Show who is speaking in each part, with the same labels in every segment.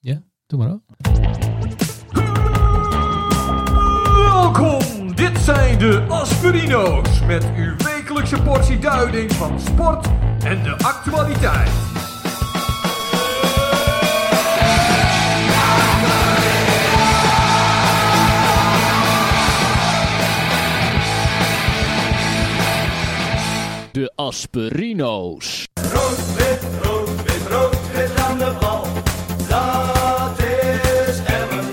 Speaker 1: Ja, doe maar ook.
Speaker 2: Welkom, dit zijn de Aspirino's met uw wekelijkse portie duiding van sport en de actualiteit.
Speaker 3: De Asperino's.
Speaker 4: Rood, wit, rood, wit, rood, wit aan de bal. Dat is Emmen.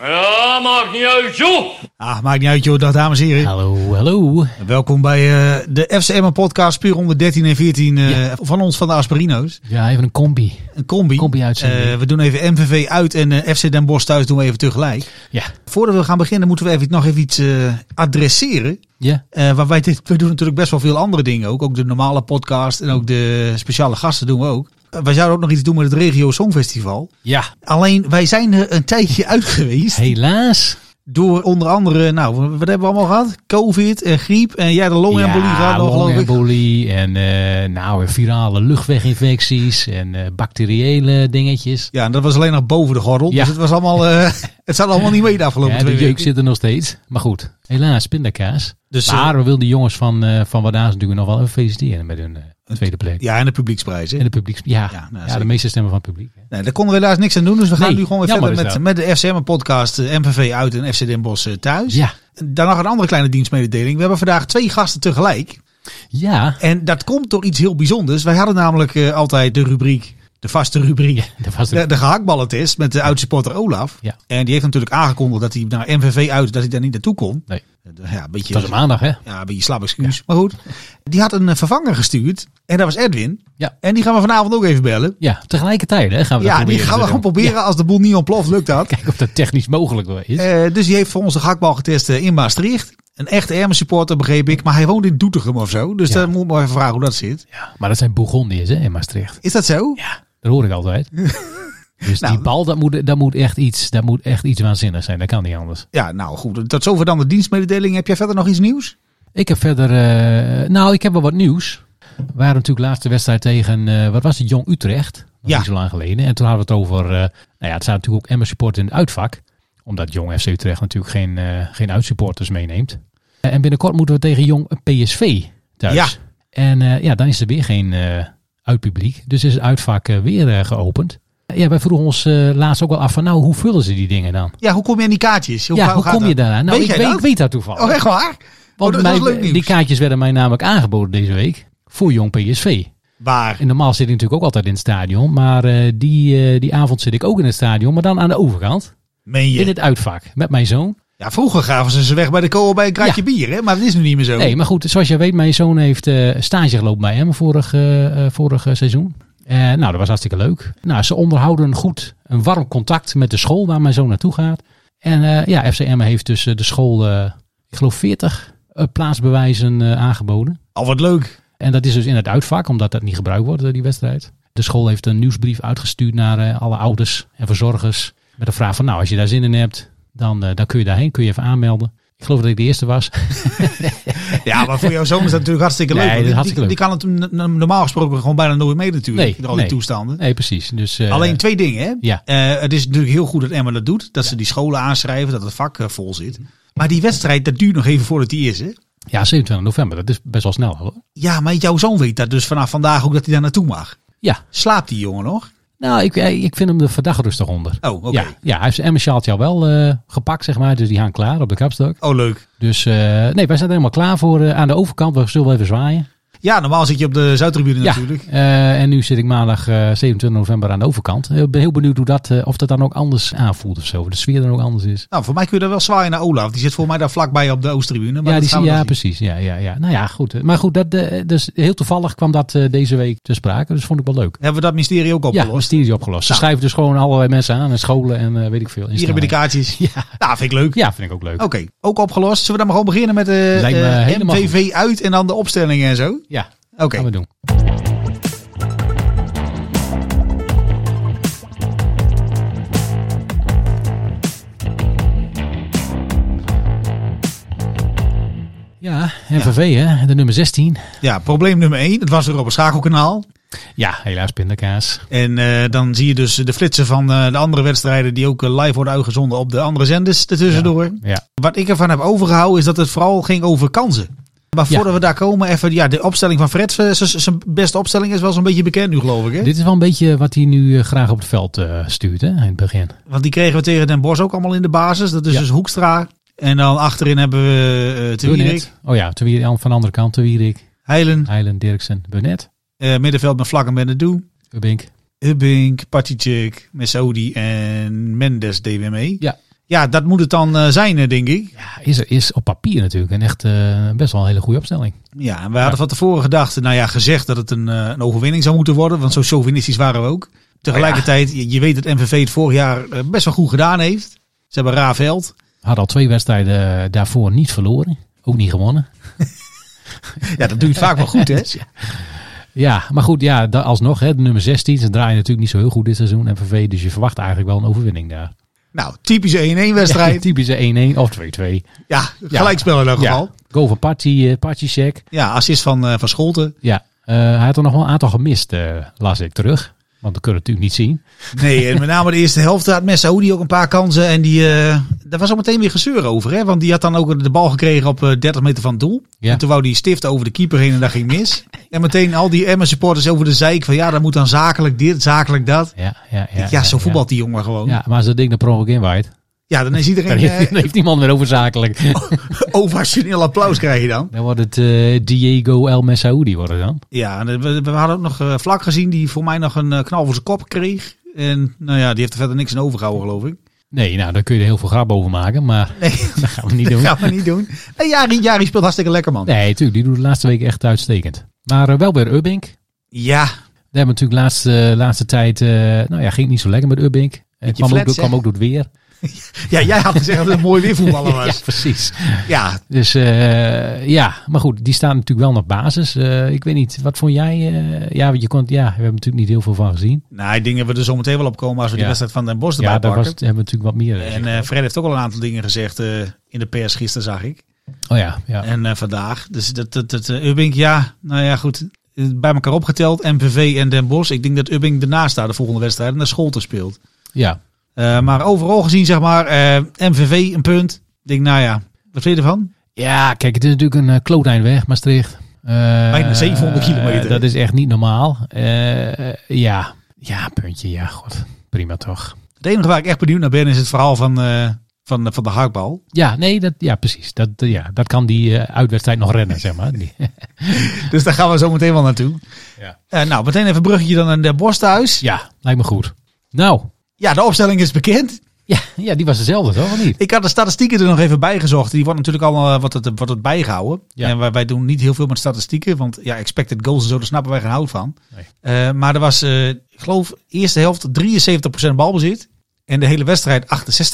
Speaker 5: Ja, maakt niet uit, joh!
Speaker 6: Ah, maakt niet uit joh, dag dames en heren.
Speaker 1: Hallo, hallo.
Speaker 6: Welkom bij eh, de FCM podcast puur onder 13 en 14 eh, van ons van de Asperino's.
Speaker 1: Ja, even een combi.
Speaker 6: Een combi.
Speaker 1: Combi-uitzending.
Speaker 6: Eh, we doen even MVV uit en eh, FC Den Bosch thuis doen we even tegelijk.
Speaker 1: Ja,
Speaker 6: Voordat we gaan beginnen moeten we even, nog even iets eh, adresseren.
Speaker 1: ja.
Speaker 6: Eh, want wij dit, we doen natuurlijk best wel veel andere dingen ook. Ook de normale podcast en ook de speciale gasten doen we ook. Eh, wij zouden ook nog iets doen met het Regio Songfestival.
Speaker 1: Ja,
Speaker 6: Alleen wij zijn er een tijdje uit geweest.
Speaker 1: helaas.
Speaker 6: Door onder andere, nou, wat hebben we allemaal gehad? Covid en griep en jij de longembolie gehad nog, geloof ik.
Speaker 1: longembolie en eh, nou, virale luchtweginfecties en eh, bacteriële dingetjes.
Speaker 6: Ja, en dat was alleen nog boven de gordel.
Speaker 1: Ja.
Speaker 6: Dus het was allemaal, eh, het zat allemaal niet mee de afgelopen
Speaker 1: Ja,
Speaker 6: twee
Speaker 1: de jeuk
Speaker 6: weken.
Speaker 1: zit er nog steeds. Maar goed, helaas, pindakaas.
Speaker 6: Dus, eh,
Speaker 1: maar we willen de jongens van, eh van Wadaas natuurlijk nog wel even feliciteren met hun eh, tweede plek.
Speaker 6: Ja, en de publieksprijs. Hè?
Speaker 1: En de publiek, ja,
Speaker 6: Ja,
Speaker 1: ja,
Speaker 6: nou,
Speaker 1: de
Speaker 6: zeker.
Speaker 1: meeste stemmen van het publiek. hè.
Speaker 6: Nee, daar konden we helaas niks aan doen. Dus we gaan
Speaker 1: Nee,
Speaker 6: nu gewoon weer
Speaker 1: jammer
Speaker 6: verder
Speaker 1: is
Speaker 6: met, met de FCM-podcast MVV uit en FC Den Bosch eh, thuis.
Speaker 1: Ja,
Speaker 6: Dan nog een andere kleine dienstmededeling. We hebben vandaag twee gasten tegelijk.
Speaker 1: ja,
Speaker 6: En dat komt door iets heel bijzonders. Wij hadden namelijk eh, altijd de rubriek, de vaste rubriek.
Speaker 1: dat was
Speaker 6: De,
Speaker 1: het.
Speaker 6: de gehaktballentest met de oud-supporter Olaf.
Speaker 1: Ja.
Speaker 6: En die heeft natuurlijk aangekondigd dat hij naar MVV uit, dat hij daar niet naartoe kon. Eh,
Speaker 1: Nee.
Speaker 6: Ja, een beetje,
Speaker 1: Het was een maandag, hè?
Speaker 6: ja, een beetje slap excuus. Maar goed, die had een eh, vervanger gestuurd. En dat was Edwin.
Speaker 1: Ja.
Speaker 6: En die gaan we vanavond ook even bellen.
Speaker 1: Ja, tegelijkertijd hè, gaan we dat
Speaker 6: ja, die
Speaker 1: proberen
Speaker 6: gaan we
Speaker 1: te
Speaker 6: gewoon
Speaker 1: doen.
Speaker 6: proberen. Als de boel niet ontploft, lukt dat.
Speaker 1: Ja, kijken of dat technisch mogelijk wel is.
Speaker 6: Eh, dus die heeft voor ons de gehaktbal getest eh, in Maastricht. Een echte Ermen supporter begreep ik. Maar hij woont in Doetinchem of zo. Dus
Speaker 1: Ja.
Speaker 6: daar moet ik maar even vragen hoe dat zit.
Speaker 1: Ja, maar dat zijn Bourgondiërs hè, in Maastricht.
Speaker 6: Is dat zo?
Speaker 1: Ja, dat hoor ik altijd. Dus
Speaker 6: Nou,
Speaker 1: die bal, dat moet, dat, moet echt iets, dat moet echt iets waanzinnigs zijn. Dat kan niet anders.
Speaker 6: Ja, nou goed. Tot zover dan de dienstmededeling. Heb jij verder nog iets nieuws?
Speaker 1: Ik heb verder... eh, nou, ik heb wel wat nieuws. We waren natuurlijk laatste wedstrijd tegen... eh, wat was het? Jong Utrecht. Nog
Speaker 6: Ja.
Speaker 1: Niet zo lang geleden. En toen hadden we het over... eh, nou ja, het staat natuurlijk ook Emma support in het uitvak. Omdat Jong FC Utrecht natuurlijk geen, eh, geen uitsupporters meeneemt. Eh, en binnenkort moeten we tegen Jong PSV thuis.
Speaker 6: Ja.
Speaker 1: En eh, ja, dan is er weer geen eh uitpubliek. Dus is het uitvak eh, weer eh, geopend. Eh, ja, wij vroegen ons eh, laatst ook wel af van... Nou, hoe vullen ze die dingen dan?
Speaker 6: Ja, hoe kom je aan die kaartjes?
Speaker 1: ja,
Speaker 6: hoe
Speaker 1: hoe
Speaker 6: gaat
Speaker 1: kom je
Speaker 6: dat?
Speaker 1: daaraan? Nou,
Speaker 6: Weet
Speaker 1: ik
Speaker 6: jij
Speaker 1: weet,
Speaker 6: dat?
Speaker 1: ik weet dat toevallig.
Speaker 6: Oh, echt waar?
Speaker 1: Want
Speaker 6: Oh, dat- dat is
Speaker 1: mij-
Speaker 6: leuk nieuws.
Speaker 1: die kaartjes werden mij namelijk aangeboden deze week voor Jong PSV.
Speaker 6: Waar?
Speaker 1: En normaal zit ik natuurlijk ook altijd in het stadion. Maar eh, die, eh, die avond zit ik ook in het stadion. Maar dan aan de overkant.
Speaker 6: Meen
Speaker 1: In
Speaker 6: je?
Speaker 1: het uitvak. Met mijn zoon.
Speaker 6: Ja, vroeger gaven ze ze weg bij de kool bij een kratje bier, hè? Maar dat is nu niet meer zo.
Speaker 1: Nee, maar goed. Zoals jij weet, mijn zoon heeft eh, stage gelopen bij hem vorig, eh, eh, vorig eh, seizoen. Eh, nou, dat was hartstikke leuk. Nou, ze onderhouden goed een warm contact met de school waar mijn zoon naartoe gaat. En eh, ja, FCM heeft dus eh, de school, eh, ik geloof 40 eh, plaatsbewijzen eh, aangeboden.
Speaker 6: Al wat leuk.
Speaker 1: En dat is dus in het uitvak, omdat dat niet gebruikt wordt, eh, die wedstrijd. De school heeft een nieuwsbrief uitgestuurd naar eh, alle ouders en verzorgers. Met de vraag van, nou, als je daar zin in hebt, dan, eh, dan kun je daarheen, kun je even aanmelden. Ik geloof dat ik de eerste was.
Speaker 6: Ja, maar voor jouw zoon is dat natuurlijk hartstikke leuk.
Speaker 1: Nee,
Speaker 6: want
Speaker 1: dat is hartstikke
Speaker 6: die- die, die kan het n- n- normaal gesproken gewoon bijna nooit mee natuurlijk.
Speaker 1: Nee,
Speaker 6: door al
Speaker 1: nee.
Speaker 6: die toestanden.
Speaker 1: Nee, precies. Dus, eh,
Speaker 6: Alleen twee dingen, hè?
Speaker 1: Ja.
Speaker 6: Eh, het is natuurlijk heel goed dat Emma dat doet. Dat ze die scholen aanschrijven, dat het vak eh, vol zit.
Speaker 1: Mhm.
Speaker 6: Maar die wedstrijd, dat duurt nog even voordat die is, hè?
Speaker 1: Ja, 27 november, dat is best wel snel hoor.
Speaker 6: Ja, maar jouw zoon weet dat dus vanaf vandaag ook dat hij daar naartoe mag.
Speaker 1: Ja,
Speaker 6: Slaapt die jongen nog?
Speaker 1: nou, ik, ik vind hem er vandaag rustig onder.
Speaker 6: Oh, oké.
Speaker 1: Ja, ja, hij heeft zijn emmerschaaltje al wel eh, gepakt, zeg maar. Dus die gaan klaar op de kapstok.
Speaker 6: Oh, leuk.
Speaker 1: Dus eh, nee, wij zijn er helemaal klaar voor eh, aan de overkant. We zullen wel even zwaaien.
Speaker 6: Ja, normaal zit je op de Zuidtribune natuurlijk.
Speaker 1: Ja, eh, en nu zit ik maandag eh, 27 november aan de overkant. Ik ben heel benieuwd hoe dat, eh, of dat dan ook anders aanvoelt of zo. Of de sfeer dan ook anders is.
Speaker 6: Nou, voor mij kun je daar wel zwaaien naar Olaf. Die zit voor mij daar vlakbij op de Oosttribune. Maar
Speaker 1: ja,
Speaker 6: dat
Speaker 1: die,
Speaker 6: gaan
Speaker 1: zie-
Speaker 6: we
Speaker 1: ja
Speaker 6: nog zien.
Speaker 1: precies. Ja, ja, ja. Nou ja, goed. eh, Maar goed, dat, eh, dus heel toevallig kwam dat eh, deze week te sprake. Dus vond ik wel leuk.
Speaker 6: Hebben we dat mysterie ook
Speaker 1: Ja,
Speaker 6: opgelost?
Speaker 1: mysterie opgelost. Ze
Speaker 6: Nou.
Speaker 1: schrijven dus gewoon allerlei mensen aan en scholen en eh, weet ik veel.
Speaker 6: Hier hebben de Oh. kaartjes.
Speaker 1: Ja.
Speaker 6: Nou, vind ik leuk.
Speaker 1: Ja, vind ik ook leuk.
Speaker 6: Oké, ook opgelost. Zullen we dan maar gewoon beginnen met de
Speaker 1: Lijkt me
Speaker 6: eh,
Speaker 1: helemaal
Speaker 6: MVV uit en dan de opstellingen en zo?
Speaker 1: Ja,
Speaker 6: Oké.
Speaker 1: gaan we doen. Ja, MVV hè, de nummer 16.
Speaker 6: Ja, probleem nummer 1. Dat was weer op het schakelkanaal.
Speaker 1: Ja, helaas pindakaas.
Speaker 6: En eh, dan zie je dus de flitsen van eh, de andere wedstrijden die ook eh, live worden uitgezonden op de andere zenders ertussendoor.
Speaker 1: Ja,
Speaker 6: Wat ik ervan heb overgehouden is dat het vooral ging over kansen. Maar
Speaker 1: Ja.
Speaker 6: voordat we daar komen, even ja, de opstelling van Fred, z- z- zijn beste opstelling is wel zo'n beetje bekend nu geloof ik. Hè?
Speaker 1: dit is wel een beetje wat hij nu eh, graag op het veld eh, stuurt hè, in het begin.
Speaker 6: Want die kregen we tegen Den Bosch ook allemaal in de basis. Dat is
Speaker 1: Ja.
Speaker 6: dus Hoekstra. En dan achterin hebben we eh Te
Speaker 1: Burnett.
Speaker 6: Wierik,
Speaker 1: Oh ja, Te Wierik, van de andere kant. Te Wierik,
Speaker 6: Heilen,
Speaker 1: Heilen, Dirksen, Burnett,
Speaker 6: eh, middenveld met Vlakken met Doe,
Speaker 1: Ubbink.
Speaker 6: Hubbink, Patitjik, Mesoudi en Mendes DWME.
Speaker 1: Ja.
Speaker 6: E. ja, dat moet het dan eh, zijn, eh, denk ik.
Speaker 1: Ja, is, er, is op papier natuurlijk een echt eh, best wel een hele goede opstelling.
Speaker 6: Ja, en we hadden van tevoren gedacht, nou ja, gezegd dat het een, eh, een overwinning zou moeten worden. Want zo chauvinistisch waren we ook. Tegelijkertijd, je, je weet dat MVV het vorig jaar eh, best wel goed gedaan heeft. Ze hebben raar veld.
Speaker 1: Had al twee wedstrijden eh, daarvoor niet verloren. Ook niet gewonnen.
Speaker 6: Ja, dat doet vaak wel goed, hè?
Speaker 1: Ja, maar goed, ja, da- alsnog, hè, de nummer 16. Ze draaien natuurlijk niet zo heel goed dit seizoen, MVV. Dus je verwacht eigenlijk wel een overwinning daar.
Speaker 6: Nou, typische 1-1
Speaker 1: Ja,
Speaker 6: wedstrijd.
Speaker 1: typische 1-1 of 2-2.
Speaker 6: Ja, gelijkspel in elk geval.
Speaker 1: Ja, goal van Party, eh Partycheck.
Speaker 6: Ja, assist van, eh, van Scholten.
Speaker 1: Ja, eh, hij had er nog wel een aantal gemist, eh, las ik terug. Want dat kunnen we natuurlijk niet zien.
Speaker 6: Nee, en met name de eerste helft had Messaoudi ook een paar kansen. En die, eh, daar was al meteen weer gezeur over. Hè? Want die had dan ook de bal gekregen op eh, 30 meter van het doel.
Speaker 1: Ja.
Speaker 6: En toen wou die stift over de keeper heen en dat ging mis. En meteen al die Emmen supporters over de zeik van ja, dat moet dan zakelijk dit, zakelijk dat.
Speaker 1: Ja, ja, ja,
Speaker 6: Ja, zo voetbalt die jongen gewoon. Ja,
Speaker 1: Ja, maar als dat ding er per ongeluk in waait,
Speaker 6: dan is
Speaker 1: dan
Speaker 6: iedereen
Speaker 1: heeft, dan
Speaker 6: eh
Speaker 1: heeft niemand meer overzakelijk.
Speaker 6: Oh. ovationeel applaus krijg je dan.
Speaker 1: Dan wordt het eh, Diego El Messaoudi worden dan.
Speaker 6: Ja, en we, we hadden ook nog eh, Vlak gezien die voor mij nog een eh, knal voor zijn kop kreeg. En nou ja, die heeft er verder niks in overgehouden geloof ik.
Speaker 1: Nee, nou, daar kun je er heel veel grap over maken, maar
Speaker 6: Nee,
Speaker 1: dat gaan we niet doen.
Speaker 6: gaan we niet doen. Nee, Jari, Jari speelt hartstikke lekker man.
Speaker 1: Nee, natuurlijk, die doet de laatste week echt uitstekend. Maar eh, wel weer Ubbink.
Speaker 6: Ja,
Speaker 1: We hebben natuurlijk de laatste, laatste tijd, eh, nou ja, ging het niet zo lekker met Ubbink. Het kwam, ook,
Speaker 6: flats, hè?
Speaker 1: kwam ook door het weer.
Speaker 6: Ja, jij had gezegd dat het een mooi weervoetballer
Speaker 1: Ja,
Speaker 6: was.
Speaker 1: precies.
Speaker 6: Ja,
Speaker 1: Dus eh, ja, maar goed, die staan natuurlijk wel nog basis. Eh, ik weet niet, wat vond jij? eh, ja, want je kon, ja, we hebben natuurlijk niet heel veel van gezien.
Speaker 6: nou, ik denk dat we er zo meteen wel op komen als we
Speaker 1: Ja.
Speaker 6: die wedstrijd van Den Bosch erbij
Speaker 1: Ja, daar
Speaker 6: pakken.
Speaker 1: was, hebben we natuurlijk wat meer. eh,
Speaker 6: En eh, Fred heeft ook al een aantal dingen gezegd eh, in de pers gisteren, zag ik.
Speaker 1: oh ja, ja.
Speaker 6: En eh, vandaag. Dus dat, dat, dat eh, Ubbink, ja, nou ja, goed. eh, Bij elkaar opgeteld, MPV en Den Bosch. Ik denk dat Ubbink daarna staat de volgende wedstrijd en naar Scholten speelt.
Speaker 1: ja.
Speaker 6: Eh, maar overal gezien, zeg maar, eh, MVV een punt. Ik denk, nou ja, wat vind je ervan?
Speaker 1: Ja, kijk, het is natuurlijk een uh, klootijnweg, Maastricht. Eh,
Speaker 6: Bijna 700 kilometer.
Speaker 1: eh, dat is echt niet normaal. Eh, eh, ja. ja, puntje, ja, god. Prima toch.
Speaker 6: Het enige waar ik echt benieuwd naar ben is het verhaal van, eh, van, van de haakbal.
Speaker 1: Ja, nee, dat, ja, precies. Dat, eh, ja, dat kan die eh, uitwedstrijd nog redden, zeg maar. Die-
Speaker 6: Dus daar gaan we zo meteen wel naartoe.
Speaker 1: Ja.
Speaker 6: Eh, nou, meteen even een bruggetje dan naar Den Bosch thuis.
Speaker 1: ja, lijkt me goed. Nou,
Speaker 6: Ja, de opstelling is bekend.
Speaker 1: ja, ja die was dezelfde, toch? Of niet?
Speaker 6: Ik had de statistieken er nog even bij gezocht. Die wordt natuurlijk al eh, wat, het, wat het bijgehouden.
Speaker 1: Ja.
Speaker 6: En wij, wij doen niet heel veel met statistieken. Want ja, expected goals en zo, daar snappen wij geen hout van.
Speaker 1: Nee.
Speaker 6: Eh, maar er was, eh, ik geloof, eerste helft 73% balbezit. En de hele wedstrijd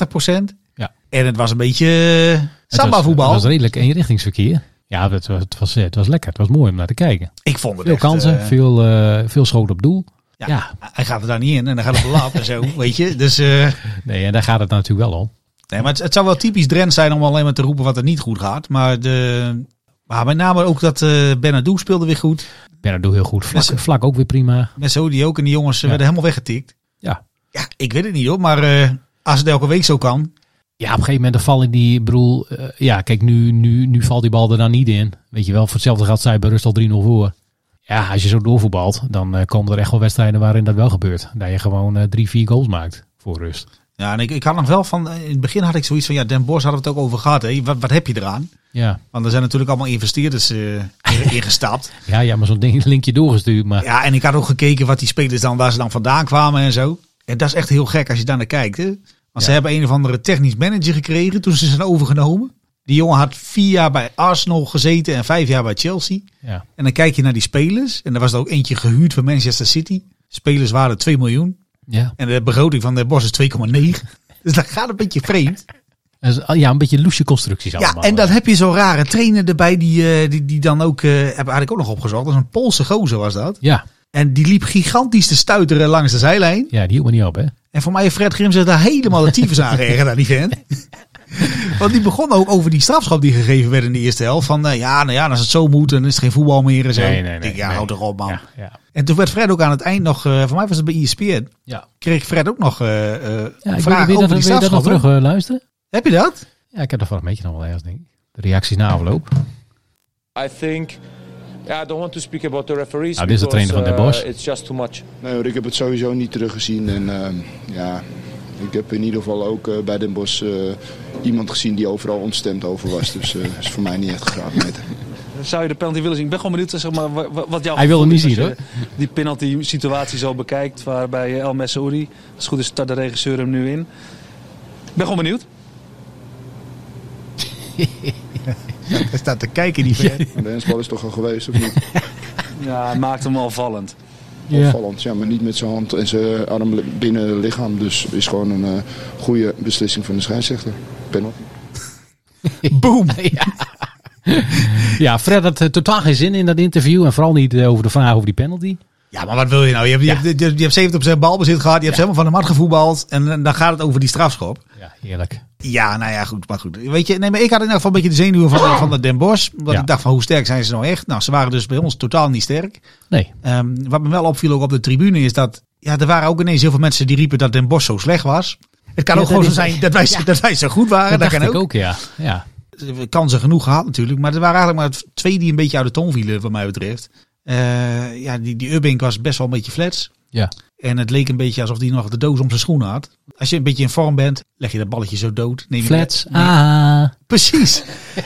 Speaker 6: 68%.
Speaker 1: Ja.
Speaker 6: En het was een beetje eh,
Speaker 1: Het was-
Speaker 6: samba voetbal.
Speaker 1: Het was redelijk eenrichtingsverkeer. Ja, het was, het, was, eh, het was lekker. Het was mooi om naar te kijken.
Speaker 6: ik vond het
Speaker 1: Veel
Speaker 6: echt,
Speaker 1: kansen,
Speaker 6: eh,
Speaker 1: veel, eh, veel schoten op doel.
Speaker 6: ja,
Speaker 1: ja.
Speaker 6: Hij gaat er daar niet in en dan gaat het op de lap en zo, weet je. Dus, eh,
Speaker 1: Nee, en daar gaat het natuurlijk wel om.
Speaker 6: Nee, maar het, het zou wel typisch Drent zijn om alleen maar te roepen wat er niet goed gaat. Maar, de, maar met name ook dat eh Benadou speelde weer goed.
Speaker 1: Bernardo heel goed. Vlak,
Speaker 6: Dus-
Speaker 1: vlak ook weer prima.
Speaker 6: Messodi ook. En die jongens eh, werden helemaal weggetikt.
Speaker 1: Ja,
Speaker 6: Ja, ik weet het niet hoor. Maar eh, als het elke week zo kan.
Speaker 1: Ja, op een gegeven moment dan vallen die, ik bedoel, eh, ja, kijk, nu, nu, nu valt die bal er dan niet in. Weet je wel, voor hetzelfde geld zij bij rust al 3-0 voor. Ja, als je zo doorvoetbalt, dan eh, komen er echt wel wedstrijden waarin dat wel gebeurt. Dat je gewoon eh, drie, vier goals maakt voor rust.
Speaker 6: Ja, en ik, ik had nog wel van... eh, In het begin had ik zoiets van... Ja, Den Bosch hadden we het ook over gehad. Hè. Wat, wat heb je eraan?
Speaker 1: Ja,
Speaker 6: Want er zijn natuurlijk allemaal investeerders eh, in- ingestapt.
Speaker 1: ja, ja maar zo'n ding linkje doorgestuurd. Maar
Speaker 6: ja, en ik had ook gekeken wat die spelers dan... Waar ze dan vandaan kwamen en zo. En dat is echt heel gek als je daar naar kijkt. Hè. Want ze
Speaker 1: Ja.
Speaker 6: hebben een of andere technisch manager gekregen toen ze zijn overgenomen. Die jongen had vier jaar bij Arsenal gezeten en vijf jaar bij Chelsea.
Speaker 1: ja,
Speaker 6: En dan kijk je naar die spelers. En er was er ook eentje gehuurd van Manchester City. Spelers waren 2 miljoen.
Speaker 1: ja.
Speaker 6: En de begroting van de Bos is 2,9. Dus dat gaat een beetje vreemd.
Speaker 1: Dat is, ah, ja, een beetje loesje constructies
Speaker 6: Ja,
Speaker 1: allemaal.
Speaker 6: en dan heb je zo'n rare trainer erbij die, eh, die, die dan ook, eh heb, had ik ook nog opgezocht. Dat is een Poolse gozer was dat.
Speaker 1: Ja,
Speaker 6: En die liep gigantisch te stuiteren langs de zijlijn.
Speaker 1: ja, die hield me niet op, hè.
Speaker 6: En voor mij heeft Fred Grim zich daar helemaal de tyfus aan geërgerd aan die vent. Want die begon ook over die strafschap die gegeven werd in de eerste helft. Van eh, ja, nou ja, als het zo moet, dan is het geen voetbal meer en zo. Ik denk, ja,
Speaker 1: nee.
Speaker 6: houd toch op man.
Speaker 1: Ja, ja.
Speaker 6: En toen werd Fred ook aan het eind nog, eh, voor mij was het bij ESPN,
Speaker 1: ja.
Speaker 6: kreeg Fred ook nog eh, eh,
Speaker 1: ja ik wil,
Speaker 6: vragen
Speaker 1: wil je
Speaker 6: over
Speaker 1: dat,
Speaker 6: die
Speaker 1: wil je dat nog
Speaker 6: strafschop.
Speaker 1: terug
Speaker 6: hè?
Speaker 1: eh, luisteren?
Speaker 6: Heb je dat?
Speaker 1: Ja, ik heb dat vorige beetje nog wel ergens, denk ik. De reacties na afloop.
Speaker 7: I think yeah, I don't want to speak about the referees.
Speaker 1: Nou, dit is de
Speaker 7: because,
Speaker 1: trainer van Den
Speaker 7: uh,
Speaker 1: Bosch.
Speaker 7: It's just too much.
Speaker 8: Nee hoor, ik heb het sowieso niet teruggezien. En ehm, ja, ik heb in ieder geval ook eh, bij Den Bosch eh, iemand gezien die overal ontstemd over was. Dus dat is voor mij niet echt een graadmeter.
Speaker 9: Zou je de penalty willen zien? Ik ben gewoon benieuwd zeg maar, wa- wa- wat jouw
Speaker 1: Hij wil hem
Speaker 9: gevoel
Speaker 1: niet
Speaker 9: is
Speaker 1: zien,
Speaker 9: als je Die penalty situatie zo bekijkt waarbij eh, El Messaoudi, als het goed is start de regisseur hem nu in. Ik ben gewoon benieuwd.
Speaker 6: Hij staat te kijken, die Fred.
Speaker 8: Maar de hensbal is toch al geweest, of niet?
Speaker 9: Ja, hij maakt hem al vallend.
Speaker 1: Ja.
Speaker 8: Opvallend, ja, maar niet met zijn hand en zijn arm li- binnen het lichaam. Dus is gewoon een eh, goede beslissing van de scheidsrechter. Penalty.
Speaker 6: Boom!
Speaker 1: ja, Fred had eh, totaal geen zin in dat interview. En vooral niet eh, over de vraag over die penalty.
Speaker 6: Ja, maar wat wil je nou? Je hebt, je
Speaker 1: Ja.
Speaker 6: hebt, je hebt, je hebt 70% balbezit gehad, je hebt
Speaker 1: Ja.
Speaker 6: helemaal van de mat gevoetbald. En, eh, dan gaat het over die strafschop.
Speaker 1: Ja, eerlijk.
Speaker 6: Ja, nou ja, goed. Maar goed. Weet je, nee, maar ik had in ieder geval een beetje de zenuwen van, van de Den Bosch. Want
Speaker 1: Ja.
Speaker 6: ik dacht van, hoe sterk zijn ze nou echt? Nou, ze waren dus bij ons totaal niet sterk.
Speaker 1: Nee.
Speaker 6: Ehm, wat me wel opviel ook op de tribune is dat... Ja, er waren ook ineens heel veel mensen die riepen dat Den Bosch zo slecht was. Het kan
Speaker 1: Ja, dat
Speaker 6: ook gewoon zo
Speaker 1: is-
Speaker 6: zijn dat wij, dat wij zo goed waren.
Speaker 1: Dat
Speaker 6: Dat,
Speaker 1: dacht
Speaker 6: kan
Speaker 1: ik
Speaker 6: ook.
Speaker 1: ook, ja. ja.
Speaker 6: Kansen genoeg gehad natuurlijk. Maar er waren eigenlijk maar twee die een beetje uit de toon vielen, wat mij betreft. Eh, ja, die, die Urbink was best wel een beetje flats.
Speaker 1: Ja.
Speaker 6: En het leek een beetje alsof hij nog de doos om zijn schoenen had. Als je een beetje in vorm bent, leg je dat balletje zo dood. Neem je-
Speaker 1: Flats. Ah.
Speaker 6: Precies.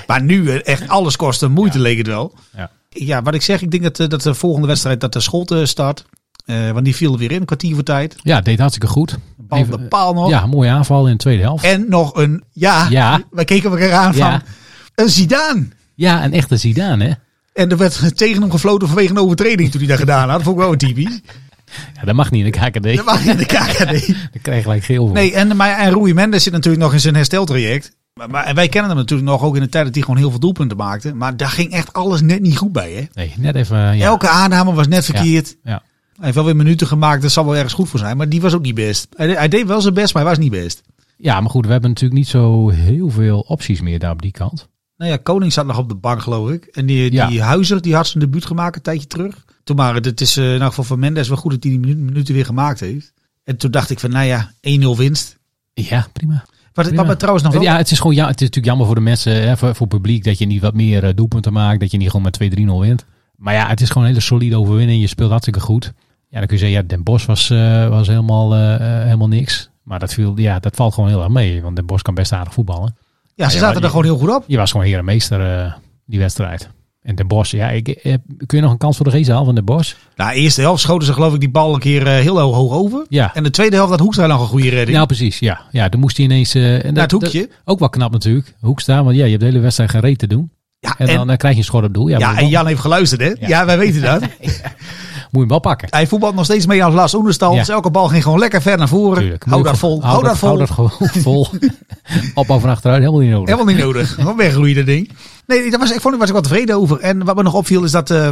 Speaker 6: maar nu eh, echt alles kost en moeite leek het wel.
Speaker 1: Ja.
Speaker 6: Ja, wat ik zeg, ik denk dat, eh, dat de volgende wedstrijd dat de Schotten start. Eh, want die viel er weer in, een kwartier voor tijd.
Speaker 1: Ja, deed hartstikke goed.
Speaker 6: Bal op de paal nog.
Speaker 1: Ja, mooie aanval in de tweede helft.
Speaker 6: En nog een, ja,
Speaker 1: Ja.
Speaker 6: we keken elkaar aan van,
Speaker 1: Ja.
Speaker 6: een Zidane.
Speaker 1: Ja, een echte Zidane, hè?
Speaker 6: En er werd tegen hem gefloten vanwege een overtreding toen hij dat gedaan had. Vond ik wel een typisch.
Speaker 1: Ja, dat mag niet in de KKD.
Speaker 6: Dat mag je in de KKD.
Speaker 1: Daar krijg je gelijk geel voor.
Speaker 6: Nee, en, maar, en Rui Mendes zit natuurlijk nog in zijn hersteltraject. Maar, maar en wij kennen hem natuurlijk nog ook in de tijd dat hij gewoon heel veel doelpunten maakte. Maar daar ging echt alles net niet goed bij. Hè?
Speaker 1: Nee, net even... eh, Ja.
Speaker 6: Elke aanname was net verkeerd.
Speaker 1: Ja.
Speaker 6: Hij heeft wel weer minuten gemaakt. Dat zal wel ergens goed voor zijn. Maar die was ook niet best. Hij, de- hij deed wel zijn best, maar hij was niet best.
Speaker 1: ja, maar goed, we hebben natuurlijk niet zo heel veel opties meer daar op die kant.
Speaker 6: Nou ja, Koning zat nog op de bank, geloof ik. En die,
Speaker 1: Ja.
Speaker 6: die Huizer, die had zijn debuut gemaakt een tijdje terug. Toen maar, het is eh, in elk geval voor Mendes wel goed dat hij die minu- minuten weer gemaakt heeft. En toen dacht ik van, nou ja, 1-0 winst.
Speaker 1: Ja, prima.
Speaker 6: Wat, wat
Speaker 1: Prima.
Speaker 6: me trouwens nog wel
Speaker 1: Ja, het is gewoon ja, het is natuurlijk jammer voor de mensen, hè, voor, voor het publiek, dat je niet wat meer eh, doelpunten maakt, dat je niet gewoon met 2-3-0 wint. Maar ja, het is gewoon een hele solide overwinning. Je speelt hartstikke goed. Ja, dan kun je zeggen, ja, Den Bosch was, eh, was helemaal, eh, eh, helemaal niks. Maar dat, viel, ja, dat valt gewoon heel erg mee, want Den Bosch kan best aardig voetballen.
Speaker 6: Ja, ze
Speaker 1: Ja,
Speaker 6: zaten
Speaker 1: maar
Speaker 6: er
Speaker 1: die-
Speaker 6: gewoon heel goed op.
Speaker 1: Je was gewoon heer en meester eh, die wedstrijd. En Den Bosch, ja, ik, eh, kun je nog een kans voor de geest halen van Den Bosch?
Speaker 6: Nou, eerste helft schoten ze geloof ik die bal een keer eh, heel ho- hoog over.
Speaker 1: Ja.
Speaker 6: En de tweede helft had Hoekstra nog een goede redding.
Speaker 1: Ja, precies. Ja, ja dan moest hij ineens... eh, en
Speaker 6: Naar het
Speaker 1: dat-
Speaker 6: hoekje.
Speaker 1: dat- ook wel knap natuurlijk. Hoek staan, want ja, je hebt de hele wedstrijd geen reet te doen.
Speaker 6: Ja,
Speaker 1: En,
Speaker 6: en,
Speaker 1: dan eh, krijg je een schot op doel. Ja,
Speaker 6: ja,
Speaker 1: moet je
Speaker 6: en
Speaker 1: hem wel-
Speaker 6: Jan heeft geluisterd hè. Ja, wij weten dat.
Speaker 1: moet je hem wel pakken.
Speaker 6: Hij voetbalt nog steeds mee als Lars Oenestal.
Speaker 1: Ja.
Speaker 6: Dus elke bal ging gewoon lekker ver naar voren.
Speaker 1: Tuurlijk.
Speaker 6: Hou
Speaker 1: Moet je
Speaker 6: dat
Speaker 1: gewoon-
Speaker 6: vol. Hou dat vol.
Speaker 1: Hou dat gewoon vol. Opbouw van achteruit, helemaal niet nodig.
Speaker 6: Helemaal niet nodig. Gewoon weggroeien dat ding. Nee, daar was, ik vond ik was ik wel tevreden over. En wat me nog opviel is dat... eh,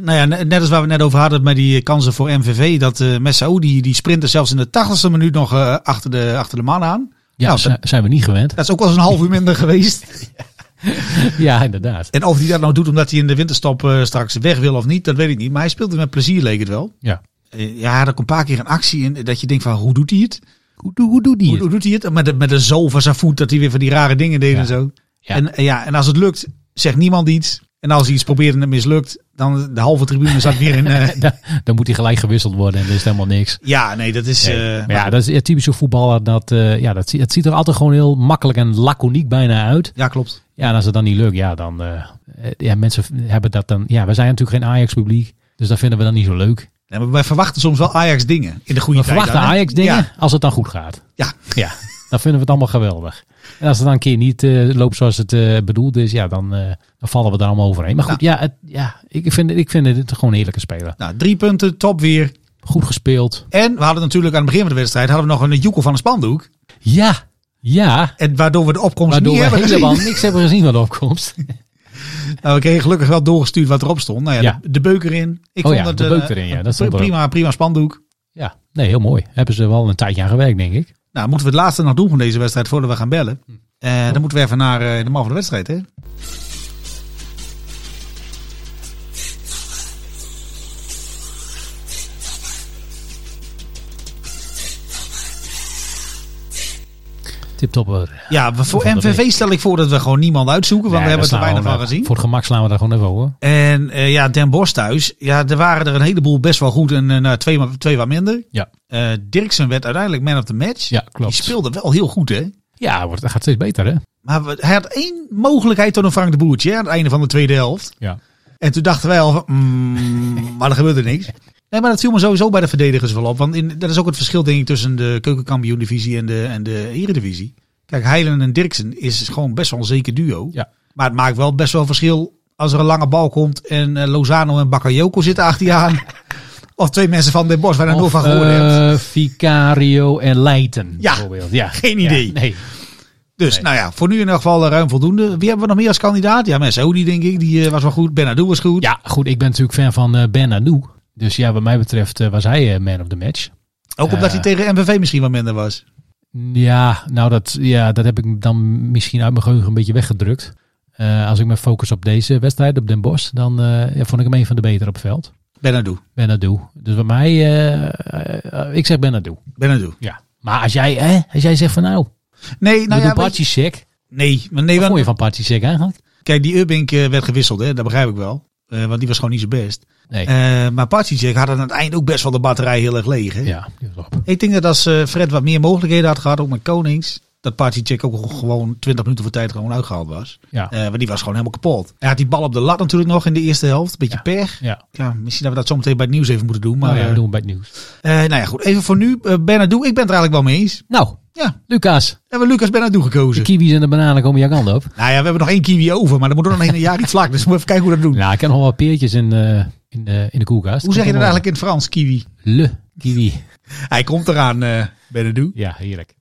Speaker 6: nou ja, ne- net als waar we net over hadden met die kansen voor MVV. Dat eh Messaou, die, die sprintte zelfs in de tachtigste minuut nog eh, achter, de, achter de man aan.
Speaker 1: Ja,
Speaker 6: Nou,
Speaker 1: zi- zijn we niet gewend.
Speaker 6: Dat is ook wel eens een half uur minder geweest.
Speaker 1: Ja, inderdaad.
Speaker 6: En of hij dat nou doet omdat hij in de winterstop eh, straks weg wil of niet, dat weet ik niet. Maar hij speelde met plezier, leek het wel.
Speaker 1: Ja.
Speaker 6: Eh, ja, er komt een paar keer een actie in eh, dat je denkt van hoe doet hij het?
Speaker 1: Hoe, doe- hoe doet die
Speaker 6: Hoe,
Speaker 1: het?
Speaker 6: hoe doet hij het? Met, de- met de zool van zijn voet dat hij weer van die rare dingen deed
Speaker 1: Ja.
Speaker 6: en zo.
Speaker 1: Ja.
Speaker 6: En, eh, ja, en als het lukt, zegt niemand iets. En als hij iets probeert en het mislukt, dan de halve tribune zat weer in... eh,
Speaker 1: Dan, dan moet hij gelijk gewisseld worden en dat is helemaal niks.
Speaker 6: ja, nee, dat is...
Speaker 1: Nee.
Speaker 6: eh,
Speaker 1: maar ja, dat is ja, typisch zo'n voetballer. Dat, eh, ja, dat, zie- het ziet er altijd gewoon heel makkelijk en laconiek bijna uit.
Speaker 6: ja, klopt.
Speaker 1: Ja, en als het dan niet lukt, ja, dan... eh, eh, ja, mensen hebben dat dan... Ja, we zijn natuurlijk geen Ajax-publiek. Dus dat vinden we dan niet zo leuk.
Speaker 6: Nee, maar wij verwachten soms wel Ajax dingen. In de goede
Speaker 1: We
Speaker 6: tijd
Speaker 1: verwachten
Speaker 6: dan, hè?
Speaker 1: Ajax-dingen
Speaker 6: Ja,
Speaker 1: als het dan goed gaat.
Speaker 6: ja.
Speaker 1: Ja, dan vinden we het allemaal geweldig. En als het dan een keer niet eh, loopt zoals het eh, bedoeld is, ja, dan, eh, dan vallen we daar allemaal overheen. Maar goed, ja, het, ja ik, vind, ik vind het gewoon een heerlijke speler.
Speaker 6: Nou, drie punten, top weer.
Speaker 1: Goed gespeeld.
Speaker 6: En we hadden natuurlijk aan het begin van de wedstrijd hadden we nog een eh, joekel van een spandoek.
Speaker 1: Ja, ja.
Speaker 6: En waardoor we de opkomst
Speaker 1: Waardoor
Speaker 6: niet
Speaker 1: we
Speaker 6: hebben
Speaker 1: helemaal
Speaker 6: gezien.
Speaker 1: niks hebben gezien van de opkomst.
Speaker 6: Nou, we kregen gelukkig wel doorgestuurd wat erop stond. Nou ja,
Speaker 1: Ja.
Speaker 6: De, de beuk erin. Ik
Speaker 1: Oh
Speaker 6: vond
Speaker 1: ja,
Speaker 6: dat,
Speaker 1: de
Speaker 6: eh,
Speaker 1: beuk erin, ja, dat
Speaker 6: een
Speaker 1: stond erop.
Speaker 6: prima, prima spandoek.
Speaker 1: Ja, nee, heel mooi. Hebben ze wel een tijdje aan gewerkt, denk ik. Hm.
Speaker 6: Nou, moeten we het laatste nog doen van deze wedstrijd voordat we gaan bellen. Eh, dan moeten we even naar eh, de man van de wedstrijd, hè?
Speaker 1: Tiptopper.
Speaker 6: Ja, we- voor
Speaker 1: Van de
Speaker 6: MVV stel ik voor dat we gewoon niemand uitzoeken, want
Speaker 1: Nee,
Speaker 6: we
Speaker 1: daar
Speaker 6: hebben er
Speaker 1: slaan
Speaker 6: weinig van
Speaker 1: gewoon, eh,
Speaker 6: gezien.
Speaker 1: Voor het gemak slaan we daar gewoon even over.
Speaker 6: En eh, ja, Den Bosch thuis. Ja, er waren er een heleboel best wel goed en eh, nou, twee, maar- twee wat minder.
Speaker 1: Ja,
Speaker 6: Eh Dirksen werd uiteindelijk man of the match.
Speaker 1: ja klopt.
Speaker 6: Die speelde wel heel goed, hè?
Speaker 1: Ja, wordt, dat gaat steeds beter hè.
Speaker 6: Maar we- hij had één mogelijkheid tot een Frank de Boertje hè, aan het einde van de tweede helft.
Speaker 1: Ja.
Speaker 6: En toen dachten wij al van, mm, maar er gebeurde niks. Nee, maar dat viel me sowieso bij de verdedigers wel op. Want in, dat is ook het verschil, denk ik, tussen de keukenkampioen-divisie en de, en de eredivisie. Kijk, Heilen en Dirksen is gewoon best wel een zeker duo.
Speaker 1: Ja.
Speaker 6: Maar het maakt wel best wel verschil als er een lange bal komt en eh, Lozano en Bakayoko zitten achter je aan. of twee mensen van Den Bosch, waar je nog nooit van gehoord hebt.
Speaker 1: eh, Vicario en Leijten
Speaker 6: Ja,
Speaker 1: bijvoorbeeld. Ja,
Speaker 6: geen idee.
Speaker 1: Ja, nee.
Speaker 6: Dus
Speaker 1: Nee.
Speaker 6: nou ja, voor nu in ieder geval eh, ruim voldoende. Wie hebben we nog meer als kandidaat? Ja, Messaoudi denk ik. Die eh, was wel goed. Benadou was goed.
Speaker 1: ja, goed, ik ben natuurlijk fan van eh Ben Anu. Dus ja, wat mij betreft eh, was hij eh, man of the match.
Speaker 6: Ook omdat
Speaker 1: eh,
Speaker 6: hij tegen MVV misschien wat minder was.
Speaker 1: Ja, nou dat, ja, dat heb ik dan misschien uit mijn geheugen een beetje weggedrukt. Eh, als ik me focus op deze wedstrijd, op Den Bosch, dan eh, ja, vond ik hem een van de betere op het veld.
Speaker 6: Benadou.
Speaker 1: Benadou. Dus bij mij, eh, eh, eh, ik zeg Benadou.
Speaker 6: Benadou.
Speaker 1: Ja. Maar als jij, hè, als jij zegt van nou,
Speaker 6: Nee, nou
Speaker 1: we
Speaker 6: ja,
Speaker 1: doen
Speaker 6: weet-
Speaker 1: Partizek.
Speaker 6: nee, maar nee,
Speaker 1: Wat
Speaker 6: want-
Speaker 1: vond je van Partizek eigenlijk?
Speaker 6: kijk, die Urbink eh, werd gewisseld, hè? dat begrijp ik wel. Eh, want die was gewoon niet zijn best.
Speaker 1: Nee.
Speaker 6: Eh, maar Partijcek had aan het eind ook best wel de batterij heel erg leeg. Hè?
Speaker 1: ja, die was op.
Speaker 6: Ik denk dat als eh, Fred wat meer mogelijkheden had gehad, ook met Konings, dat Partijcek ook gewoon 20 minuten voor tijd gewoon uitgehaald was.
Speaker 1: Ja.
Speaker 6: Eh, want die was gewoon helemaal kapot. Hij had die bal op de lat natuurlijk nog in de eerste helft. Beetje
Speaker 1: Ja.
Speaker 6: pech.
Speaker 1: ja.
Speaker 6: Ja, misschien dat we dat zometeen bij het nieuws even moeten doen. Maar
Speaker 1: Maar ja,
Speaker 6: eh,
Speaker 1: we doen we bij het nieuws.
Speaker 6: eh, nou ja, goed. Even voor nu. eh Bernardo, ik ben het er eigenlijk wel mee eens.
Speaker 1: Nou,
Speaker 6: Ja,
Speaker 1: Lucas,
Speaker 6: hebben we Lucas Bernardo
Speaker 1: de
Speaker 6: gekozen.
Speaker 1: kiwis en de bananen komen jouw kant op.
Speaker 6: Nou ja, we hebben nog één kiwi over, maar dan moet er nog een jaar niet vlak. Dus we moeten even kijken hoe we dat doen.
Speaker 1: Nou, ik heb nog wel peertjes in, eh, in, eh, in de koelkast.
Speaker 6: hoe zeg je dat
Speaker 1: Komt
Speaker 6: eigenlijk in het Frans, kiwi?
Speaker 1: allemaal. Le kiwi.
Speaker 6: Hij komt eraan, eh Bernardo.
Speaker 1: Ja, heerlijk.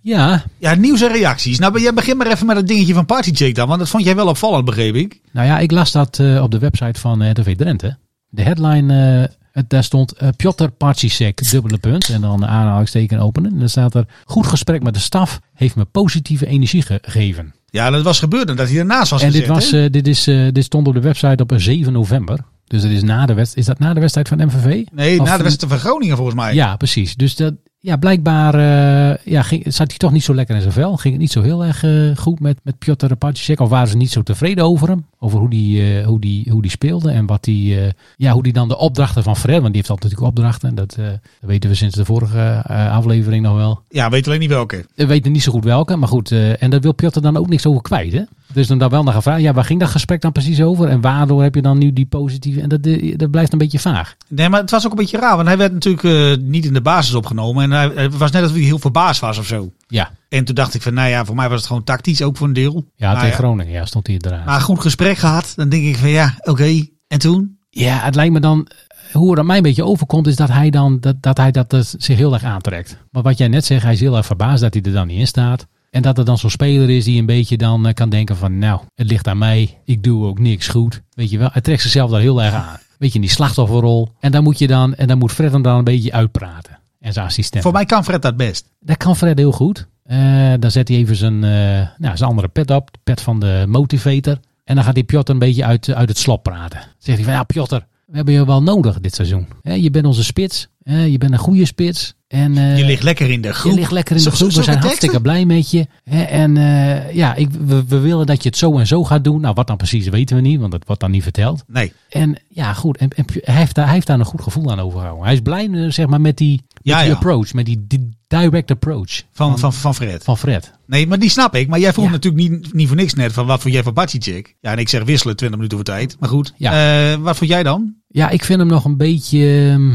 Speaker 1: Ja,
Speaker 6: Ja, nieuws en reacties. Nou, jij begint maar even met dat dingetje van Partycheck dan, want dat vond jij wel opvallend, begreep ik.
Speaker 1: nou ja, ik las dat eh, op de website van eh, RTV Drenthe. De headline, eh, het- daar stond eh Piotr Partsisek, dubbele punt. En dan aanhalingsteken openen. En dan staat er, goed gesprek met de staf heeft me positieve energie ge- gegeven.
Speaker 6: Ja, dat was gebeurd en dat hij ernaast was
Speaker 1: En dit,
Speaker 6: gezet,
Speaker 1: was,
Speaker 6: hè?
Speaker 1: eh, dit, is, eh, dit stond op de website op eh, 7 november. Dus dat is, na de wedst- is dat na de wedstrijd van MVV?
Speaker 6: Nee, nou,
Speaker 1: of-
Speaker 6: na de wedstrijd van Groningen volgens mij.
Speaker 1: Ja, precies. Dus dat, ja, blijkbaar eh, ja, ging, zat hij toch niet zo lekker in zijn vel. Ging het niet zo heel erg eh, goed met, met Piotr Pacicek. Of waren ze niet zo tevreden over hem? Over hoe die, eh, hoe die, hoe die speelde en wat die, eh, ja, hoe die dan de opdrachten van Fred... Want die heeft altijd natuurlijk opdrachten. Dat, eh, dat weten we sinds de vorige eh, aflevering nog wel.
Speaker 6: Ja, weet alleen niet welke.
Speaker 1: We weten niet zo goed welke, maar goed. eh, en daar wil Piotr dan ook niks over kwijt, hè? Dus dan daar wel naar gevraagd. Ja, waar ging dat gesprek dan precies over? En waardoor heb je dan nu die positieve... En dat, eh, dat blijft een beetje vaag.
Speaker 6: Nee, maar het was ook een beetje raar, want hij werd natuurlijk eh, niet in de basis opgenomen. En hij, het was net alsof hij heel verbaasd was of zo.
Speaker 1: Ja,
Speaker 6: En toen dacht ik van, nou ja, voor mij was het gewoon tactisch ook voor een deel.
Speaker 1: ja
Speaker 6: maar,
Speaker 1: tegen Groningen ja, stond hij eraan.
Speaker 6: maar goed gesprek gehad, dan denk ik van ja, oké. En toen?
Speaker 1: Ja, het lijkt me dan... Hoe het aan mij een beetje overkomt, is dat hij, dan, dat, dat, hij dat, dat zich heel erg aantrekt. Maar wat jij net zegt, hij is heel erg verbaasd dat hij er dan niet in staat. En dat er dan zo'n speler is die een beetje dan eh, kan denken van... Nou, het ligt aan mij. Ik doe ook niks goed. Weet je wel, hij trekt zichzelf daar heel erg aan. Weet je, in die slachtofferrol. En dan moet, je dan, en dan moet Fred hem dan een beetje uitpraten. En zijn assistent.
Speaker 6: Voor mij kan Fred dat best.
Speaker 1: Dat kan Fred heel goed. Eh, dan zet hij even zijn, eh, nou, zijn andere pet op. De pet van de motivator. En dan gaat die Piotr een beetje uit, uit het slop praten. Dan zegt hij van, ja Piotr, we hebben je wel nodig dit seizoen. Hè, je bent onze spits. Hè, je bent een goede spits. En, eh,
Speaker 6: je ligt lekker in de groep.
Speaker 1: je ligt lekker in
Speaker 6: Zo-
Speaker 1: de groep.
Speaker 6: zo-
Speaker 1: We zijn
Speaker 6: zulke
Speaker 1: hartstikke
Speaker 6: teksten?
Speaker 1: blij met je. Hè, En eh, ja, ik, we, we willen dat je het zo en zo gaat doen. Nou, wat dan precies weten we niet, want dat wordt dan niet verteld.
Speaker 6: Nee.
Speaker 1: En ja, goed. En, en Pio- hij, heeft daar, hij heeft daar een goed gevoel aan overgehouden. Hij is blij eh, zeg maar, met die, met
Speaker 6: Ja,
Speaker 1: die
Speaker 6: ja.
Speaker 1: approach. Met die, die direct approach
Speaker 6: Van, van, van Fred.
Speaker 1: van Fred.
Speaker 6: Nee, maar die snap ik. Maar jij vroeg
Speaker 1: Hmm. Ja.
Speaker 6: natuurlijk niet, niet voor niks net van wat vond jij van Batjicek? Ja, en ik zeg wisselen 20 minuten voor tijd. Maar goed,
Speaker 1: Ja.
Speaker 6: Eh, wat vond jij dan?
Speaker 1: Ja, ik vind hem nog een beetje. ehm,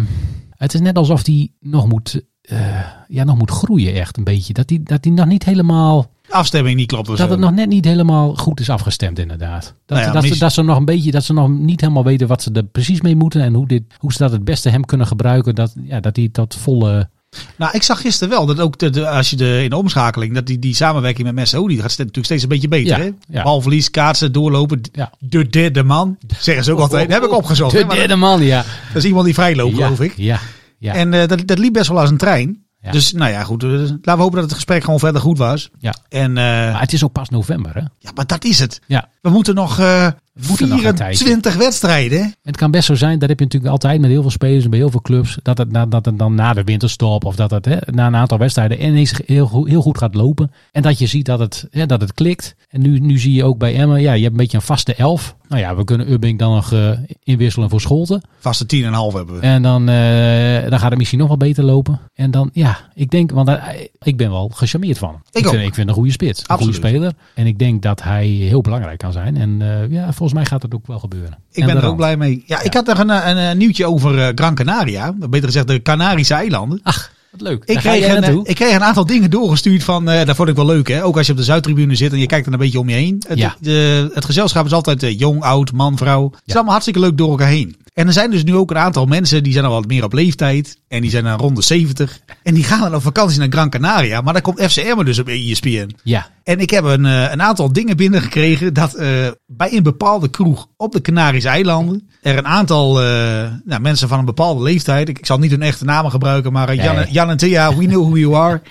Speaker 1: Het is net alsof hij nog moet, eh, ja, nog moet groeien, echt een beetje. Dat hij dat die nog niet helemaal.
Speaker 6: Afstemming niet klopt of
Speaker 1: Dat
Speaker 6: zo.
Speaker 1: het nog net niet helemaal goed is afgestemd, inderdaad. Dat,
Speaker 6: Nou ja,
Speaker 1: dat,
Speaker 6: mis-
Speaker 1: ze, dat ze nog een beetje. Dat ze nog niet helemaal weten wat ze er precies mee moeten. En hoe, dit, hoe ze dat het beste hem kunnen gebruiken. Dat, ja, dat hij tot volle.
Speaker 6: Nou, ik zag gisteren wel dat ook de, de- als je de, in de omschakeling, dat die, die samenwerking met Messaoudi gaat ste- natuurlijk steeds een beetje beter.
Speaker 1: Ja,
Speaker 6: hè?
Speaker 1: ja.
Speaker 6: Balverlies, kaatsen, doorlopen.
Speaker 1: Ja. Oh,
Speaker 6: De derde man, zeggen ze ook altijd. Dat heb ik opgezocht. hè,
Speaker 1: De
Speaker 6: maar
Speaker 1: derde man, ja.
Speaker 6: Dat is iemand die vrijloopt,
Speaker 1: ja,
Speaker 6: geloof ik.
Speaker 1: Ja, ja.
Speaker 6: En eh, dat, dat liep best wel als een trein.
Speaker 1: Ja.
Speaker 6: Dus nou ja, goed. eh, laten we hopen dat het gesprek gewoon verder goed was.
Speaker 1: ja.
Speaker 6: En eh,
Speaker 1: Maar het is ook pas november, hè?
Speaker 6: ja, maar dat is het.
Speaker 1: Ja.
Speaker 6: We moeten nog eh
Speaker 1: moeten nog een
Speaker 6: 24 wedstrijden. hè?
Speaker 1: Het kan best zo zijn, dat heb je natuurlijk altijd met heel veel spelers en bij heel veel clubs, dat het, na- dat het dan na de winterstop of dat het hè, na een aantal wedstrijden ineens heel, goed- heel goed gaat lopen. En dat je ziet dat het, hè, dat het klikt. En nu, nu zie je ook bij Emmen, ja, je hebt een beetje een vaste elf. Nou ja, we kunnen Ubbing dan nog eh, inwisselen voor Scholten.
Speaker 6: Vaste 10,5 hebben we.
Speaker 1: En dan, eh, dan gaat het misschien nog wel beter lopen. En dan, ja, ik denk, want hij- ik ben wel gecharmeerd van hem. vind,
Speaker 6: ook.
Speaker 1: ik vind hem een goede spits, een
Speaker 6: Absoluut.
Speaker 1: goede speler. En ik denk dat hij heel belangrijk kan zijn. En eh, ja, volgens mij gaat dat ook wel gebeuren.
Speaker 6: Ik ben er ook blij mee. Ja, ik had nog een, eh, een, eh, nieuwtje over eh, Gran Canaria. Beter gezegd de Canarische eilanden.
Speaker 1: Ach, wat leuk.
Speaker 6: Ik
Speaker 1: Daar ga
Speaker 6: kreeg,
Speaker 1: jij
Speaker 6: een, eh,
Speaker 1: naartoe.
Speaker 6: ik kreeg een aantal dingen doorgestuurd van, eh dat vond ik wel leuk hè. Ook als je op de Zuidtribune zit en je kijkt er een beetje om je heen. Het,
Speaker 1: Ja.
Speaker 6: de- het gezelschap is altijd eh, jong, oud, man, vrouw. Het is allemaal hartstikke leuk door elkaar heen. En er zijn dus nu ook een aantal mensen, die zijn al wat meer op leeftijd. En die zijn dan rond de 70. En die gaan dan op vakantie naar Gran Canaria. Maar dan komt FCM dus op ESPN.
Speaker 1: Ja,
Speaker 6: En ik heb een, eh, een aantal dingen binnengekregen dat eh, bij een bepaalde kroeg op de Canarische eilanden er een aantal eh, nou, mensen van een bepaalde leeftijd, ik, ik zal niet hun echte namen gebruiken, maar eh, Jan,
Speaker 1: Nee.
Speaker 6: Jan en Thea, we know who you are,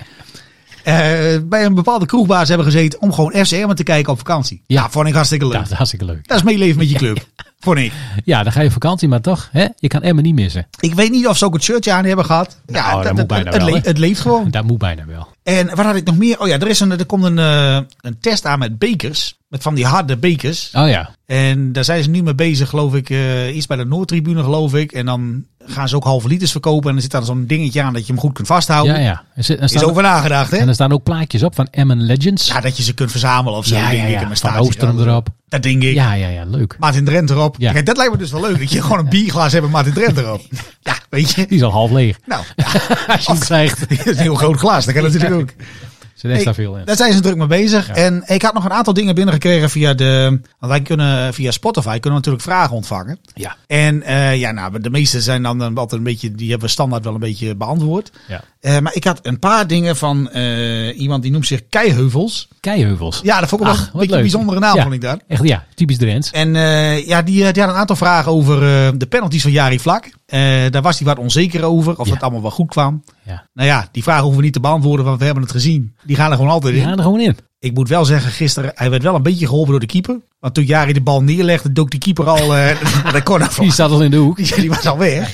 Speaker 6: eh, bij een bepaalde kroegbaas hebben gezeten om gewoon FCM te kijken op vakantie. Ja,
Speaker 1: Ja.
Speaker 6: vond ik hartstikke leuk.
Speaker 1: dat is hartstikke leuk.
Speaker 6: Dat is meeleven met je club. Vond ik.
Speaker 1: Ja, dan ga je op vakantie, maar toch, hè, je kan Emmen niet missen.
Speaker 6: Ik weet niet of ze ook het shirtje aan hebben gehad.
Speaker 1: Nou, dat moet bijna
Speaker 6: het,
Speaker 1: wel,
Speaker 6: le-
Speaker 1: hè?
Speaker 6: het leeft gewoon.
Speaker 1: Dat moet bijna wel.
Speaker 6: En wat had ik nog meer? Oh ja, er, is een, er komt een, eh, een test aan met bekers. Met van die harde bekers.
Speaker 1: Oh ja,
Speaker 6: En daar zijn ze nu mee bezig, geloof ik. eh iets bij de Noordtribune, geloof ik. En dan gaan ze ook halve liters verkopen. En er zit dan zo'n dingetje aan dat je hem goed kunt vasthouden.
Speaker 1: ja, ja. Er zit- er
Speaker 6: Oh. Is
Speaker 1: staan,
Speaker 6: over nagedacht, hè?
Speaker 1: en er staan ook plaatjes op van Emmen Legends.
Speaker 6: Ja, dat je ze kunt verzamelen of zo.
Speaker 1: ja,
Speaker 6: denk
Speaker 1: ja,
Speaker 6: ik,
Speaker 1: ja.
Speaker 6: in mijn
Speaker 1: Van
Speaker 6: staartje.
Speaker 1: Oostrum
Speaker 6: Ja,
Speaker 1: erop.
Speaker 6: Dat denk ik.
Speaker 1: Ja, ja, ja, leuk.
Speaker 6: Maarten Drent erop.
Speaker 1: Ja.
Speaker 6: Kijk, dat lijkt me dus wel leuk. Dat je gewoon een bierglas hebt met Maarten Drent erop. Ja, weet
Speaker 1: Die
Speaker 6: je.
Speaker 1: is al half leeg.
Speaker 6: Nou, ja,
Speaker 1: Als je hem krijgt,
Speaker 6: dat is een heel groot glas. Dat kan natuurlijk ook.
Speaker 1: zit extra
Speaker 6: Nee,
Speaker 1: veel in.
Speaker 6: Daar zijn ze druk mee bezig.
Speaker 1: Ja.
Speaker 6: En ik had nog een aantal dingen binnengekregen via de. Want wij kunnen via Spotify kunnen we natuurlijk vragen ontvangen.
Speaker 1: Ja.
Speaker 6: En eh, ja, nou, de meeste zijn dan een- altijd een beetje. Die hebben we standaard wel een beetje beantwoord.
Speaker 1: ja.
Speaker 6: Eh, maar ik had een paar dingen van eh, iemand die noemt zich Keiheuvels.
Speaker 1: Keiheuvels.
Speaker 6: Ja, dat vond ik
Speaker 1: Ach,
Speaker 6: wel een
Speaker 1: Ah, wat
Speaker 6: beetje een
Speaker 1: leuk.
Speaker 6: bijzondere naam,
Speaker 1: Ja.
Speaker 6: vond ik dat.
Speaker 1: Echt, ja, typisch Drents.
Speaker 6: En eh, ja, die, eh, die had een aantal vragen over eh, de penalties van Jari Vlak. Eh, daar was hij wat onzeker over, of
Speaker 1: Ja.
Speaker 6: dat allemaal wel goed kwam.
Speaker 1: Ja.
Speaker 6: Nou ja, die vragen hoeven we niet te beantwoorden, want we hebben het gezien. Die gaan er gewoon altijd
Speaker 1: Die
Speaker 6: in.
Speaker 1: gaan er gewoon in.
Speaker 6: Ik moet wel zeggen, gisteren, hij werd wel een beetje geholpen door de keeper. Want toen Jari de bal neerlegde, dook die keeper al eh de corner van.
Speaker 1: Die staat al in de hoek.
Speaker 6: Die, die was al weg.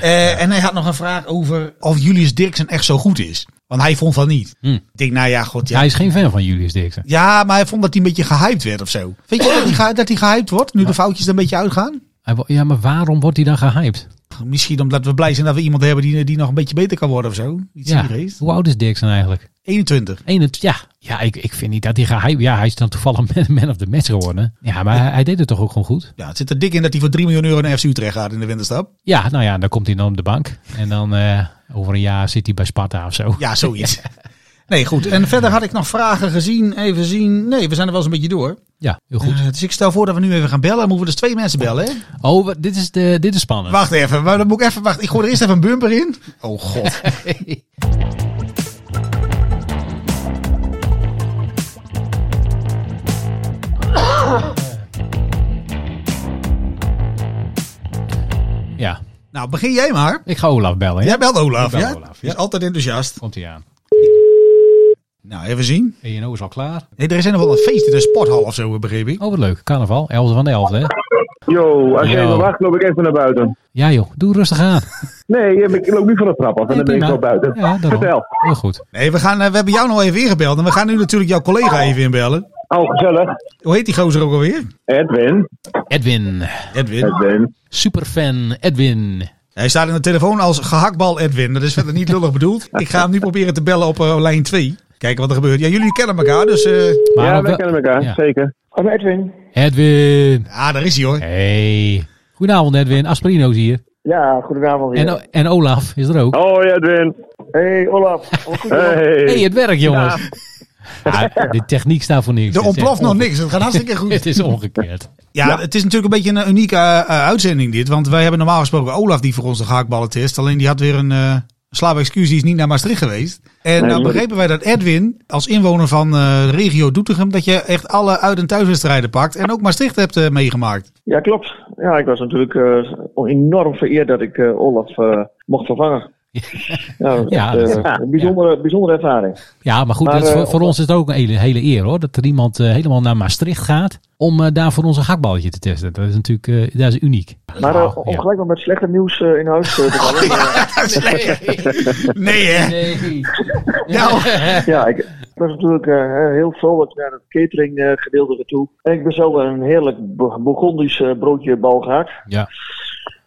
Speaker 6: Eh, En hij had nog een vraag over of Julius Dirksen echt zo goed is. Want hij vond van niet.
Speaker 1: Hm.
Speaker 6: Ik denk, nou ja, god, ja.
Speaker 1: Hij is geen fan van Julius Dixon.
Speaker 6: Ja, maar hij vond dat hij een beetje gehyped werd of zo. Vind je dat hij, ge- dat hij gehyped wordt, nu de foutjes er een beetje uitgaan?
Speaker 1: Hij wo- Ja, maar waarom wordt hij dan gehyped?
Speaker 6: Misschien omdat we blij zijn dat we iemand hebben die, die nog een beetje beter kan worden of zo. Iets
Speaker 1: Ja.
Speaker 6: in die race.
Speaker 1: Hoe oud is Dixon eigenlijk?
Speaker 6: 21.
Speaker 1: 21, ja, ja ik, ik vind niet dat hij gehyped... Ja, hij is dan toevallig man, man of the match geworden. Ja, maar hij, hij deed het toch ook gewoon goed?
Speaker 6: Ja, het zit er dik in dat hij voor 3 miljoen euro naar FC Utrecht gaat in de winterstap.
Speaker 1: Ja, nou ja, dan komt hij dan op de bank. En dan eh, over een jaar zit hij bij Sparta of zo.
Speaker 6: Ja, zoiets. Nee, goed. En verder had ik nog vragen gezien. Even zien. Nee, we zijn er wel eens een beetje door.
Speaker 1: Ja, heel goed.
Speaker 6: Eh, dus ik stel voor dat we nu even gaan bellen. Dan moeten we dus twee mensen bellen. Hè?
Speaker 1: Oh, wa- dit is, de, dit is spannend.
Speaker 6: Wacht even. Maar dan moet ik even wachten. Ik gooi er eerst even een bumper in. Oh god.
Speaker 1: Ja,
Speaker 6: nou, begin jij maar.
Speaker 1: ik ga Olaf bellen. Ja?
Speaker 6: Jij belt Olaf.
Speaker 1: Ik bel
Speaker 6: ja?
Speaker 1: Olaf,
Speaker 6: Die is altijd enthousiast.
Speaker 1: Komt hij aan.
Speaker 6: Nou, even zien.
Speaker 1: ENO is al klaar.
Speaker 6: Nee, er is nog wel een feest in de sporthal of zo, begreep ik.
Speaker 1: Oh, wat leuk. Carnaval. 11 van de 11, hè?
Speaker 10: Yo, als je
Speaker 1: Yo.
Speaker 10: even wacht, loop ik even naar buiten.
Speaker 1: Ja, joh. Doe rustig aan.
Speaker 10: Nee, ik loop niet van de trap af
Speaker 1: Nee,
Speaker 10: en dan ben ik
Speaker 1: prima.
Speaker 10: wel buiten.
Speaker 1: Ja, daarom.
Speaker 10: Vertel.
Speaker 1: Heel goed.
Speaker 6: Nee, we, gaan, eh, we hebben jou nog even ingebeld. En we gaan nu natuurlijk jouw collega even inbellen.
Speaker 10: Oh, gezellig.
Speaker 6: Hoe heet die gozer ook alweer?
Speaker 10: Edwin.
Speaker 1: Edwin.
Speaker 6: Edwin.
Speaker 10: Edwin.
Speaker 1: Superfan Edwin.
Speaker 6: Hij staat in de telefoon als gehaktbal Edwin. Dat is verder niet lullig bedoeld. Ik ga hem nu proberen te bellen op eh, lijn 2. Kijken wat er gebeurt. Ja, jullie kennen elkaar, dus... eh,
Speaker 10: Ja,
Speaker 1: op
Speaker 10: wij
Speaker 1: wel-
Speaker 10: kennen elkaar,
Speaker 1: Ja.
Speaker 10: zeker. Kom Edwin.
Speaker 1: Edwin.
Speaker 6: Ja, ah, daar is hij hoor.
Speaker 1: Hey. Goedenavond, Edwin. Asperino's hier.
Speaker 10: Ja, goedenavond weer.
Speaker 1: En, O- en Olaf is er ook.
Speaker 10: Hoi Edwin. Hey Olaf. Hey.
Speaker 1: hey, het werkt, jongens. Ja, de techniek staat voor niks.
Speaker 6: Er
Speaker 1: Het is echt
Speaker 6: ontploft nog
Speaker 1: onge-
Speaker 6: niks. Het gaat hartstikke goed.
Speaker 1: Het is ongekend.
Speaker 6: Ja, het is natuurlijk een beetje een unieke eh, eh, uitzending dit. Want wij hebben normaal gesproken Olaf die voor ons de gehaktballen test. Alleen die had weer een, eh, Slaap excuus, die is niet naar Maastricht geweest. En nou
Speaker 10: sorry.
Speaker 6: begrepen wij dat Edwin, als inwoner van eh, de regio Doetinchem, dat je echt alle uit- en thuiswedstrijden pakt. En ook Maastricht hebt eh, meegemaakt.
Speaker 10: Ja, klopt. Ja, ik was natuurlijk eh, enorm vereerd dat ik eh, Olaf eh, mocht vervangen. Ja,
Speaker 1: Ja,
Speaker 10: dat,
Speaker 1: dat-
Speaker 10: eh, een bijzondere, bijzondere ervaring.
Speaker 1: Ja, maar goed,
Speaker 10: Maar,
Speaker 1: dat is
Speaker 10: eh,
Speaker 1: voor, voor ons is het ook een hele, hele eer hoor. Dat er iemand eh, helemaal naar Maastricht gaat om eh, daar voor ons een gakballetje te testen. Dat is natuurlijk eh, dat is uniek.
Speaker 10: Maar eh,
Speaker 1: Nou,
Speaker 10: om
Speaker 1: ja.
Speaker 10: gelijk maar met slechte nieuws eh, in huis eh, te vallen. eh,
Speaker 6: Nee hè?
Speaker 1: Nee.
Speaker 6: Nou,
Speaker 10: ja, ik ik was natuurlijk eh, heel vrolijk naar het catering eh, gedeelte toe. En ik bestelde een heerlijk Bo- Bourgondisch eh, broodje balgaak.
Speaker 1: Ja.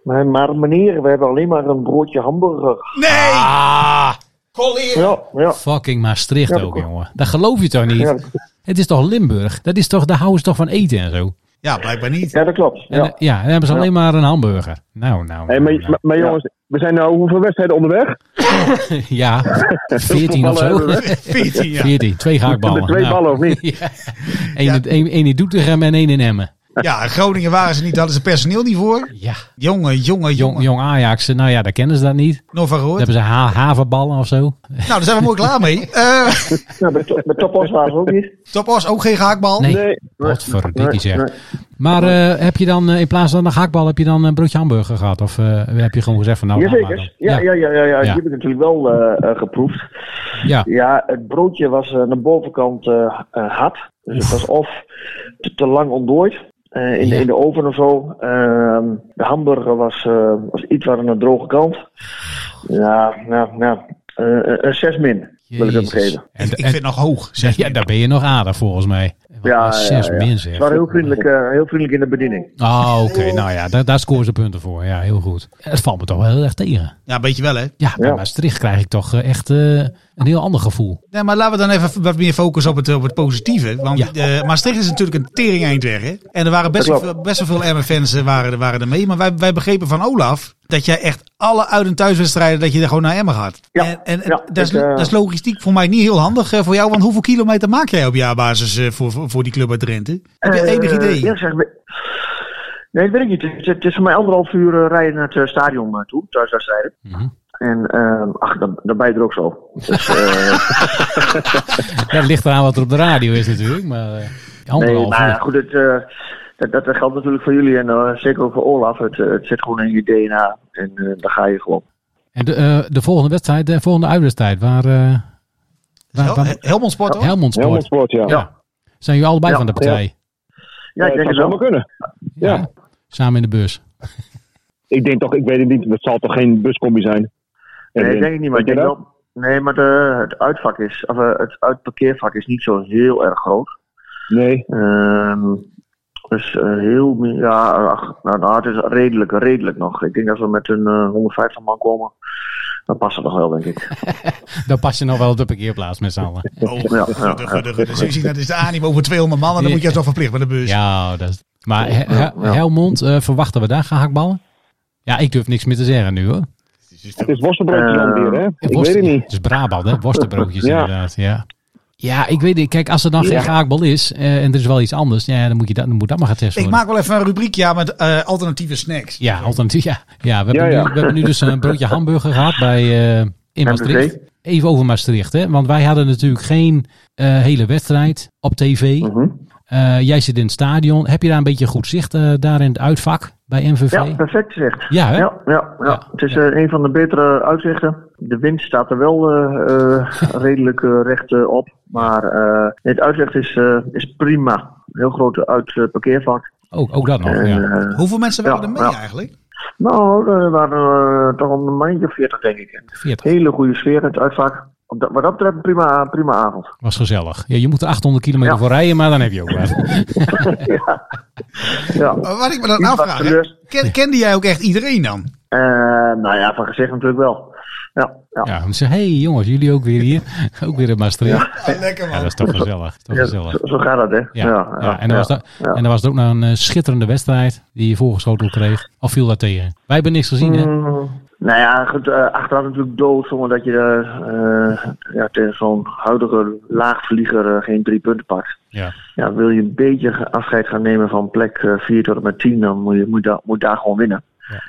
Speaker 10: Maar, maar meneer, we hebben alleen maar een broodje hamburger.
Speaker 6: Nee!
Speaker 10: Ja, ja.
Speaker 1: Fucking Maastricht
Speaker 10: Ja, dat
Speaker 1: ook,
Speaker 10: klopt.
Speaker 1: jongen. Dat geloof je toch niet?
Speaker 10: Ja, dat-
Speaker 1: Het is toch Limburg? Dat is toch, daar houden ze toch van eten en zo?
Speaker 6: Ja, blijkbaar niet.
Speaker 10: ja, dat klopt.
Speaker 1: En, eh,
Speaker 10: Ja.
Speaker 1: ja, dan hebben ze
Speaker 10: Ja.
Speaker 1: alleen maar een hamburger. Nou, nou.
Speaker 11: Hey,
Speaker 1: nou,
Speaker 11: maar, maar- maar
Speaker 10: Ja.
Speaker 11: jongens, we zijn nou hoeveel wedstrijden onderweg?
Speaker 1: nou. Ja, 14 of zo.
Speaker 11: Hoeveel ballen
Speaker 6: 14 jaar.
Speaker 1: 14, twee gaakballen.
Speaker 11: Met twee
Speaker 1: Nou,
Speaker 11: ballen of niet?
Speaker 1: ja. Eén in- één- één in Doetinchem en één in Emmen.
Speaker 6: Ja, in Groningen waren ze niet, daar hadden ze personeel niet voor.
Speaker 1: Ja,
Speaker 6: Jongen, jongen,
Speaker 1: jong,
Speaker 6: jongen.
Speaker 1: jong Ajax, eh, nou ja, daar kennen ze dat niet.
Speaker 6: Nog van
Speaker 1: Dan
Speaker 6: gehoord.
Speaker 1: hebben ze ha havenballen of zo.
Speaker 6: Nou, daar zijn we mooi klaar mee. Eh
Speaker 10: Nou, met, to- met Topos waren ze ook niet.
Speaker 6: Top Os, ook geen gehaakbal.
Speaker 1: Nee,
Speaker 11: Nee.
Speaker 1: wat voor dikkie zeg.
Speaker 10: nee.
Speaker 1: Maar eh, heb je dan eh, in plaats van een hakbal, heb je dan een broodje hamburger gehad? Of eh, heb je gewoon gezegd van nou, laat maar
Speaker 10: Jazeker.
Speaker 1: dan.
Speaker 10: Ja, ja, ja, ja, ja.
Speaker 1: Ja.
Speaker 10: Die heb ik natuurlijk wel eh, eh, geproefd.
Speaker 1: ja.
Speaker 10: Ja, het broodje was eh, aan de bovenkant eh, eh, hard. Dus het was of te, te lang ontdooid. eh, in, de,
Speaker 1: Ja.
Speaker 10: in de oven of zo. Ehm, de hamburger was, eh, was iets wat aan de droge kant. Ja, nou, nou. eh, Een 6 min, wil ik hem
Speaker 1: Jezus.
Speaker 10: geven.
Speaker 1: En,
Speaker 6: ik
Speaker 1: en-
Speaker 6: vind het nog hoog. Zeg
Speaker 1: ja, daar ben je nog aardig volgens mij. Wat
Speaker 10: Ja,
Speaker 1: een zes
Speaker 10: ja, ja.
Speaker 1: min, zeg.
Speaker 10: Ze waren heel vriendelijk, eh, heel vriendelijk in de bediening.
Speaker 1: Oh, oké. Nou ja, daar, daar scoren ze punten voor. Ja, heel goed. Het valt me toch wel heel erg tegen.
Speaker 6: Ja, weet je wel hè.
Speaker 1: Ja, bij
Speaker 10: Ja.
Speaker 1: Maastricht krijg ik toch eh, echt eh, een heel ander gevoel.
Speaker 6: Nee, maar laten we dan even wat meer focussen op het, op het positieve. Want
Speaker 1: Ja.
Speaker 6: eh, Maastricht is natuurlijk een tering eindweg. Hè? En er waren best
Speaker 10: Dat
Speaker 6: wel,
Speaker 10: klopt.
Speaker 6: veel- best wel veel Emmen-fans eh, waren, er- waren er mee. Maar wij, wij begrepen van Olaf dat jij echt alle uit- en thuiswedstrijden... dat je er gewoon naar Emmen gaat.
Speaker 10: Ja,
Speaker 6: En, en en
Speaker 10: ja,
Speaker 6: dat, is,
Speaker 10: ik, eh,
Speaker 6: dat is logistiek voor mij niet heel handig eh, voor jou. Want hoeveel kilometer maak jij op jaarbasis eh, voor, voor, voor die club uit Drenthe? Heb je enig
Speaker 10: Eh,
Speaker 6: idee?
Speaker 10: eerlijk gezegd, we- nee, dat weet ik niet. Het, het is voor mij anderhalf uur eh, rijden naar het eh, stadion eh, toe, thuiswedstrijden.
Speaker 1: Mhm.
Speaker 10: En ehm ach, dan, dan ben je er ook zo. Dus, eh,
Speaker 1: Ja, het ligt eraan wat er op de radio is natuurlijk. Maar eh
Speaker 10: nee,
Speaker 1: anderhalf
Speaker 10: maar ja,
Speaker 1: uur.
Speaker 10: goed, het, eh, dat, dat, dat geldt natuurlijk voor jullie en eh, zeker ook voor Olaf. Het, eh, het zit gewoon in je DNA en eh daar ga je gewoon.
Speaker 1: En de, eh, de volgende wedstrijd, de volgende uitwedstrijd, waar... eh waar,
Speaker 6: Hel-
Speaker 1: waar
Speaker 6: Helmond Sport hoor.
Speaker 1: Helmond Sport.
Speaker 11: Helmond Sport, ja.
Speaker 1: Ja. Zijn jullie allebei
Speaker 10: Ja,
Speaker 1: van de partij?
Speaker 10: Ja, ik denk
Speaker 11: dat
Speaker 10: het
Speaker 11: zou
Speaker 10: wel.
Speaker 11: wel kunnen. Ja.
Speaker 1: Samen in de bus.
Speaker 11: Ik denk toch, ik weet het niet, het zal toch geen buscombi zijn?
Speaker 10: Nee,
Speaker 11: Edwin,
Speaker 10: ik denk het niet, maar ik
Speaker 11: je
Speaker 10: denk
Speaker 11: dat?
Speaker 10: wel... Nee, maar de, het uitvak is, of, eh, het uitparkeervak is niet zo heel erg groot.
Speaker 11: Nee,
Speaker 10: Ehm, dus eh, heel, min- ja, ach, nou, nou, het is redelijk, redelijk nog. Ik denk dat we met een eh, 150 man komen. Dan past het nog wel, denk ik.
Speaker 1: Dan pas je nog wel op de parkeerplaats met z'n allen.
Speaker 6: Oh,
Speaker 10: Ja, ja,
Speaker 6: gudde,
Speaker 10: ja.
Speaker 6: gudde, gudde. Zo, je ziet, Dat is de animo over 200 man. En dan
Speaker 1: Ja.
Speaker 6: moet je toch verplicht met de bus.
Speaker 1: Ja, dat is- Maar He- He- Helmond, eh, verwachten we daar gehaktballen? Ja, ik durf niks meer te zeggen nu hoor.
Speaker 11: het is worstenbroodjes
Speaker 10: Eh,
Speaker 11: dan weer, hè? Ik
Speaker 1: Worst-
Speaker 11: weet het niet.
Speaker 1: Het is Brabant, hè? Worstenbroodjes
Speaker 11: Ja.
Speaker 1: inderdaad. Ja. ja, ik weet het. Kijk, als er dan geen
Speaker 11: Ja.
Speaker 1: gehaktbal is eh, en er is wel iets anders, ja, dan, moet je dat, dan moet dat maar getest
Speaker 6: Ik
Speaker 1: worden.
Speaker 6: maak wel even een rubriek ja, met eh, alternatieve snacks.
Speaker 1: Ja, alternatief. Ja, ja, we, hebben
Speaker 11: Ja, ja.
Speaker 1: Nu, we hebben nu dus een broodje hamburger gehad bij, eh, in Maastricht. Even over Maastricht, hè? Want wij hadden natuurlijk geen eh, hele wedstrijd op tv.
Speaker 10: Mhm.
Speaker 1: Eh, jij zit in het stadion. Heb je daar een beetje goed zicht eh, daar in het uitvak bij MVV?
Speaker 10: Ja, perfect gezegd.
Speaker 1: Ja, hè?
Speaker 10: Ja, ja, ja.
Speaker 1: Ja,
Speaker 10: het is eh, een van de betere uitzichten. De wind staat er wel eh, eh, redelijk eh, recht eh, op. Maar eh, het uitzicht is, eh, is prima. Heel groot uit eh, parkeervak.
Speaker 1: Oh, Ook, ook dat nog,
Speaker 10: En,
Speaker 1: ja.
Speaker 10: eh,
Speaker 6: Hoeveel mensen waren
Speaker 10: Ja,
Speaker 6: er mee
Speaker 10: ja.
Speaker 6: eigenlijk?
Speaker 10: nou, er waren eh, toch een mandje of 40, denk ik.
Speaker 1: 40.
Speaker 10: Hele goede sfeer in het uitvak. Op dat, wat dat betreft, prima, prima avond.
Speaker 1: Was gezellig. Ja, je moet er 800 kilometer
Speaker 10: Ja.
Speaker 1: voor rijden, maar dan heb je ook wat.
Speaker 10: Ja.
Speaker 6: Maar Eh, Wat ik me dan
Speaker 10: Iets
Speaker 6: afvraag,
Speaker 10: wat
Speaker 6: hè,
Speaker 10: gerust.
Speaker 6: ken- kende jij ook echt iedereen dan?
Speaker 10: Eh, nou ja, van gezicht natuurlijk wel. Ja, ja.
Speaker 1: Ja, dan zeg hé hey, jongens, jullie ook weer hier. Ook weer in Maastricht.
Speaker 6: Ah, lekker
Speaker 1: Ja, dat is toch gezellig. Toch
Speaker 10: Ja,
Speaker 1: gezellig.
Speaker 10: zo, zo gaat dat, hè?
Speaker 1: Ja, ja, en, dan was dat,
Speaker 10: ja.
Speaker 1: en dan was het ook nog een eh, schitterende wedstrijd die je voorgeschoteld kreeg. Of viel dat tegen? Wij hebben niks gezien, hè?
Speaker 10: Mm, nou ja, goed, eh, achteraf natuurlijk dood zonder dat je eh, eh, ja, tegen zo'n huidige laagvlieger eh, geen drie punten pakt.
Speaker 1: Ja.
Speaker 10: Ja, wil je een beetje ge- afscheid gaan nemen van plek eh, 4 tot en met 10, dan moet je moet daar, moet daar gewoon winnen.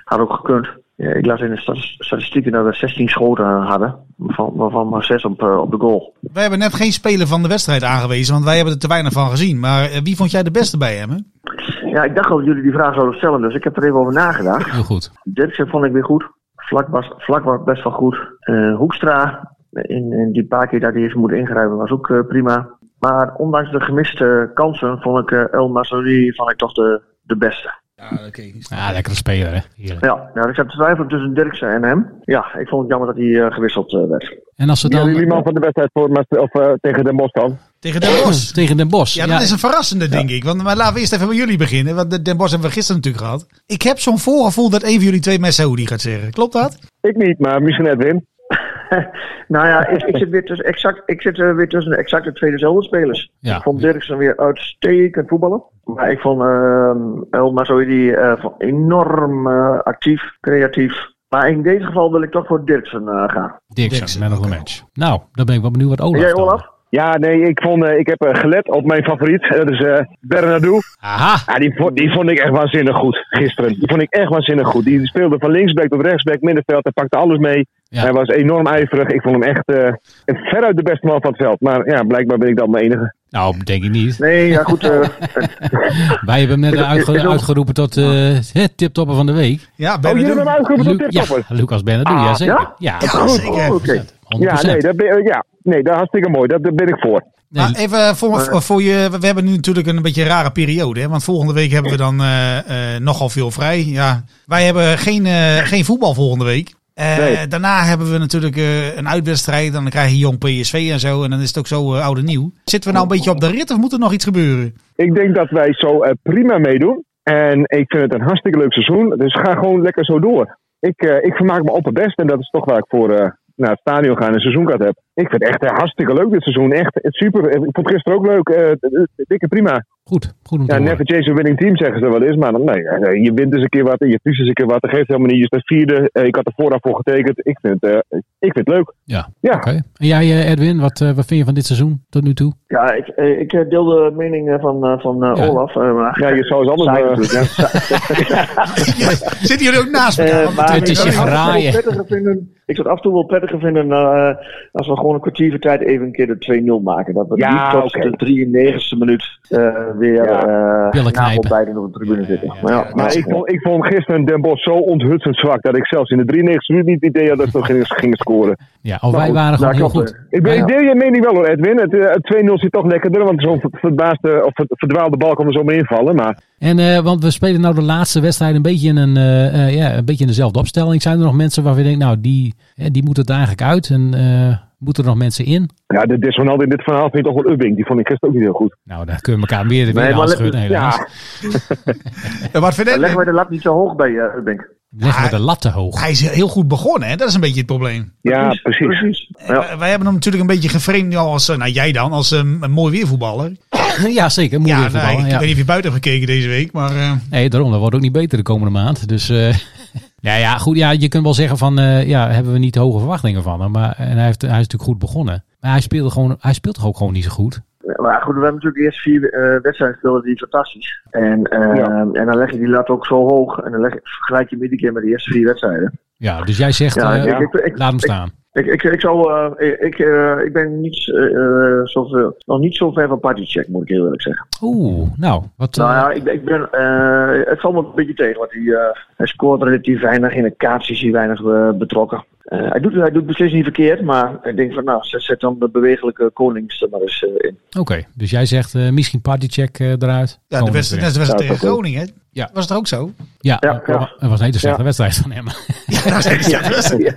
Speaker 10: Had ook gekund. Ja, ik las in de stas- statistieken dat we 16 schoten hadden, waarvan, waarvan maar 6 op, eh, op de goal.
Speaker 6: Wij hebben net geen speler van de wedstrijd aangewezen, want wij hebben er te weinig van gezien. Maar eh, wie vond jij de beste bij hem? Hè?
Speaker 10: Ja, ik dacht al dat jullie die vraag zouden stellen, dus ik heb er even over nagedacht.
Speaker 1: Heel goed.
Speaker 10: Dirksen vond ik weer goed. Vlak was, vlak was best wel goed. Eh, Hoekstra, in, in die paar keer dat hij heeft moeten ingrijpen, was ook eh, prima. Maar ondanks de gemiste kansen vond ik eh, El Masri vond ik toch de, de beste.
Speaker 6: Ja, oké.
Speaker 1: Ja, lekkere speler, hè? Heerlijk.
Speaker 10: Ja, nou, ik zat te twijfelen tussen Dirksen en hem. Ja, ik vond het jammer dat hij eh, gewisseld eh, werd.
Speaker 1: En als we
Speaker 11: Wie
Speaker 1: dan...
Speaker 11: jullie man van de wedstrijd voor, Mas- of, eh, tegen Den Bosch dan?
Speaker 6: Tegen Den Bosch.
Speaker 1: Tegen Den Bosch.
Speaker 6: Ja, dat is een verrassende, denk ik. Want, maar laten we eerst even bij jullie beginnen. Want de Den Bosch hebben we gisteren natuurlijk gehad. Ik heb zo'n voorgevoel dat een van jullie twee Messaoudi gaat zeggen. Klopt dat?
Speaker 11: Ik niet, maar misschien Edwin.
Speaker 10: Nou ja, ik, ik zit, weer tussen, exact, ik zit eh, weer tussen exact de twee dezelfde spelers.
Speaker 1: Ja.
Speaker 10: Ik vond Dirksen weer uitstekend voetballen. Maar ik vond ehm El Mazoidi eh, van enorm eh, actief, creatief. Maar in dit geval wil ik toch voor Dirksen eh, gaan.
Speaker 1: Dixon, man of the match. Nou, dan ben ik wel benieuwd wat Olaf...
Speaker 10: En jij
Speaker 1: dan-
Speaker 10: Olaf?
Speaker 11: Ja, nee, ik, vond, eh, ik heb eh, gelet op mijn favoriet. eh, Dat is eh Bernardo.
Speaker 1: Aha!
Speaker 11: Ja, die, vond, die vond ik echt waanzinnig goed gisteren. Die vond ik echt waanzinnig goed. Die speelde van linksback tot rechtsback, middenveld. Hij pakte alles mee.
Speaker 1: Ja.
Speaker 11: Hij was enorm ijverig. Ik vond hem echt eh, veruit de beste man van het veld. Maar ja, blijkbaar ben ik dan mijn enige.
Speaker 1: Nou, denk ik niet.
Speaker 10: Nee, ja goed. eh,
Speaker 1: Wij hebben hem net
Speaker 10: Is- is-
Speaker 1: uitge-
Speaker 10: is ook-
Speaker 1: uitgeroepen tot eh het tiptopper van de week.
Speaker 6: Ja,
Speaker 11: Oh, jullie
Speaker 6: Bernardo.
Speaker 11: hebben hem uitgeroepen tot
Speaker 1: Lu- ja,
Speaker 11: tiptopper?
Speaker 1: Lucas Bernardo,
Speaker 11: Ah,
Speaker 1: ja zeker. Ja,
Speaker 10: ja?
Speaker 6: Ja,
Speaker 1: goed.
Speaker 6: zeker.
Speaker 10: Oké.
Speaker 1: 100%.
Speaker 11: Ja, nee, dat ben, eh, ja, nee, dat hartstikke mooi. Dat, daar ben ik voor.
Speaker 1: Nee,
Speaker 6: Maar even voor, voor je, we hebben nu natuurlijk een beetje een rare periode. Hè? Want volgende week hebben we dan eh, eh, nogal veel vrij. Ja, wij hebben geen, eh, geen voetbal volgende week. Eh,
Speaker 11: Nee.
Speaker 6: Daarna hebben we natuurlijk eh, een uitwedstrijd. Dan krijg je jong PSV en zo. En dan is het ook zo eh, oude oud en nieuw. Zitten we nou
Speaker 10: Oh.
Speaker 6: een beetje op de rit of moet er nog iets gebeuren?
Speaker 11: Ik denk dat wij zo eh, prima meedoen. En ik vind het een hartstikke leuk seizoen. Dus ga gewoon lekker zo door. Ik, eh, ik vermaak me op het best. En dat is toch waar ik voor eh, naar het stadion gaan en een seizoenkaart heb. Ik vind het echt eh, hartstikke leuk dit seizoen. Echt eh, super. Ik vond het gisteren ook leuk. Eh, eh, dikke prima.
Speaker 1: goed, goed om te
Speaker 11: Ja,
Speaker 1: horen.
Speaker 11: never chase a winning team zeggen ze wel eens. Maar dan, nee, eh, je wint eens een keer wat. en Je verliest eens een keer wat. Dat geeft helemaal niet. Je staat vierde. Eh, ik had er vooraf voor getekend. Ik vind, eh, ik vind het leuk.
Speaker 1: Ja,
Speaker 11: Ja.
Speaker 1: oké. En jij eh, Edwin, wat, eh, wat vind je van dit seizoen tot nu toe?
Speaker 10: ja, ik, eh, ik eh, deel de mening eh, van, eh, van eh,
Speaker 1: Ja.
Speaker 10: Olaf. eh, maar-
Speaker 11: Ja, je zou eens anders...
Speaker 10: Saai
Speaker 11: eh,
Speaker 10: natuurlijk, hè.
Speaker 6: Zitten jullie ook naast elkaar?
Speaker 10: Eh,
Speaker 6: Want
Speaker 10: maar
Speaker 1: het is
Speaker 10: ik zou
Speaker 1: je
Speaker 10: af en toe wel
Speaker 1: graaien.
Speaker 10: prettiger vinden- Ik zou het af en toe wel prettiger vinden eh, als we gewoon een kwartier voor tijd even een keer de 2-0 maken. Dat we
Speaker 11: Ja,
Speaker 10: niet tot
Speaker 11: oké.
Speaker 10: de 93e minuut eh, weer
Speaker 11: Ja.
Speaker 10: eh
Speaker 1: Billen knijpen.
Speaker 10: nabelbijtend op de tribune zitten. Maar ja,
Speaker 11: Maar ik vond, ik vond gisteren Den Bosch zo onthutsend zwak dat ik zelfs in de 93 minuut niet het idee had dat ze gingen, gingen scoren.
Speaker 1: Ja, oh, wij waren gewoon
Speaker 10: Nou, daar
Speaker 1: heel
Speaker 10: klopt
Speaker 1: goed. Nou
Speaker 11: Ik, ben,
Speaker 1: Ja.
Speaker 11: ik deel je mening wel hoor, Edwin. Het, eh, het 2-0 zit toch lekkerder, want zo'n ver- verbaasde of ver- verdwaalde bal kan er zomaar invallen. Maar
Speaker 1: En eh, want we spelen nou de laatste wedstrijd een beetje in een, eh, eh, ja, een beetje in dezelfde opstelling. Zijn er nog mensen waarvan je denkt, nou die, eh, die moeten het eigenlijk uit en eh, moeten er nog mensen in?
Speaker 11: ja, de dissonant in dit verhaal vind ik toch wel Ubbing. Die vond ik gisteren ook niet heel goed.
Speaker 1: Nou, daar kunnen we elkaar weer, weer
Speaker 10: Nee,
Speaker 1: de
Speaker 10: maar
Speaker 1: hand
Speaker 10: let-
Speaker 1: schudden helaas.
Speaker 11: Ja,
Speaker 6: Wat vind
Speaker 10: Dan leggen
Speaker 6: jij?
Speaker 10: wij de lat niet zo hoog bij eh Ubbink.
Speaker 1: Leggen we de lat te hoog.
Speaker 6: Hij is heel goed begonnen, hè? Dat is een beetje het probleem.
Speaker 11: ja precies.
Speaker 10: Precies. Ja.
Speaker 6: Wij- Wij hebben hem natuurlijk een beetje geframed nu als, eh, nou jij dan, als eh, een mooi weervoetballer.
Speaker 10: Ah.
Speaker 1: ja, zeker. Moet
Speaker 6: Ja,
Speaker 1: weer voetballen,
Speaker 6: nou, ik
Speaker 1: ja.
Speaker 6: weet niet of je buiten hebt gekeken deze week, maar eh,
Speaker 1: Nee, daarom. Dat wordt ook niet beter de komende maand. Dus, eh nou ja, goed. Ja, je kunt wel zeggen van, eh, ja, hebben we niet hoge verwachtingen van hem. Maar, en hij, heeft, hij is natuurlijk goed begonnen. Maar hij speelde gewoon, hij speelt toch ook gewoon niet zo goed.
Speaker 10: Maar goed, we hebben natuurlijk eerst vier eh wedstrijden gespeeld, die fantastisch. En, eh,
Speaker 11: Ja.
Speaker 10: en dan leg je die lat ook zo hoog. En dan leg, je- vergelijk je hem iedere keer met de eerste vier wedstrijden.
Speaker 1: Ja, dus jij zegt,
Speaker 10: Ja,
Speaker 1: eh,
Speaker 10: ik- ik- ik-
Speaker 1: laat hem
Speaker 10: ik-
Speaker 1: staan.
Speaker 10: Ik, ik, ik, zal, eh, ik, eh, ik ben niet, eh, eh, zoveel, nog niet zo ver van partycheck, moet ik heel eerlijk zeggen.
Speaker 1: Oeh, nou, wat...
Speaker 10: Nou
Speaker 1: eh,
Speaker 10: ja, ik, ik ben, eh, het valt me een beetje tegen, want hij, eh, hij scoort relatief weinig. In de kaats is hij weinig eh, betrokken. Eh, hij, doet, hij doet beslist niet verkeerd, maar ik denk van nou, zet, zet dan de bewegelijke konings er maar eens eh, in.
Speaker 1: Oké, dus jij zegt eh, misschien partycheck eh, eruit.
Speaker 6: ja, de
Speaker 1: Komen
Speaker 6: wedstrijd
Speaker 1: we
Speaker 6: net
Speaker 1: weer.
Speaker 6: als de wedstrijd tegen
Speaker 11: Ja, dat ook.
Speaker 6: Groningen.
Speaker 1: Ja.
Speaker 6: Was het ook zo?
Speaker 1: Ja,
Speaker 10: Ja,
Speaker 1: dat
Speaker 10: ja.
Speaker 1: was een hele slechte
Speaker 11: Ja.
Speaker 1: wedstrijd van hem.
Speaker 6: Ja, dat is ja.
Speaker 10: Ja.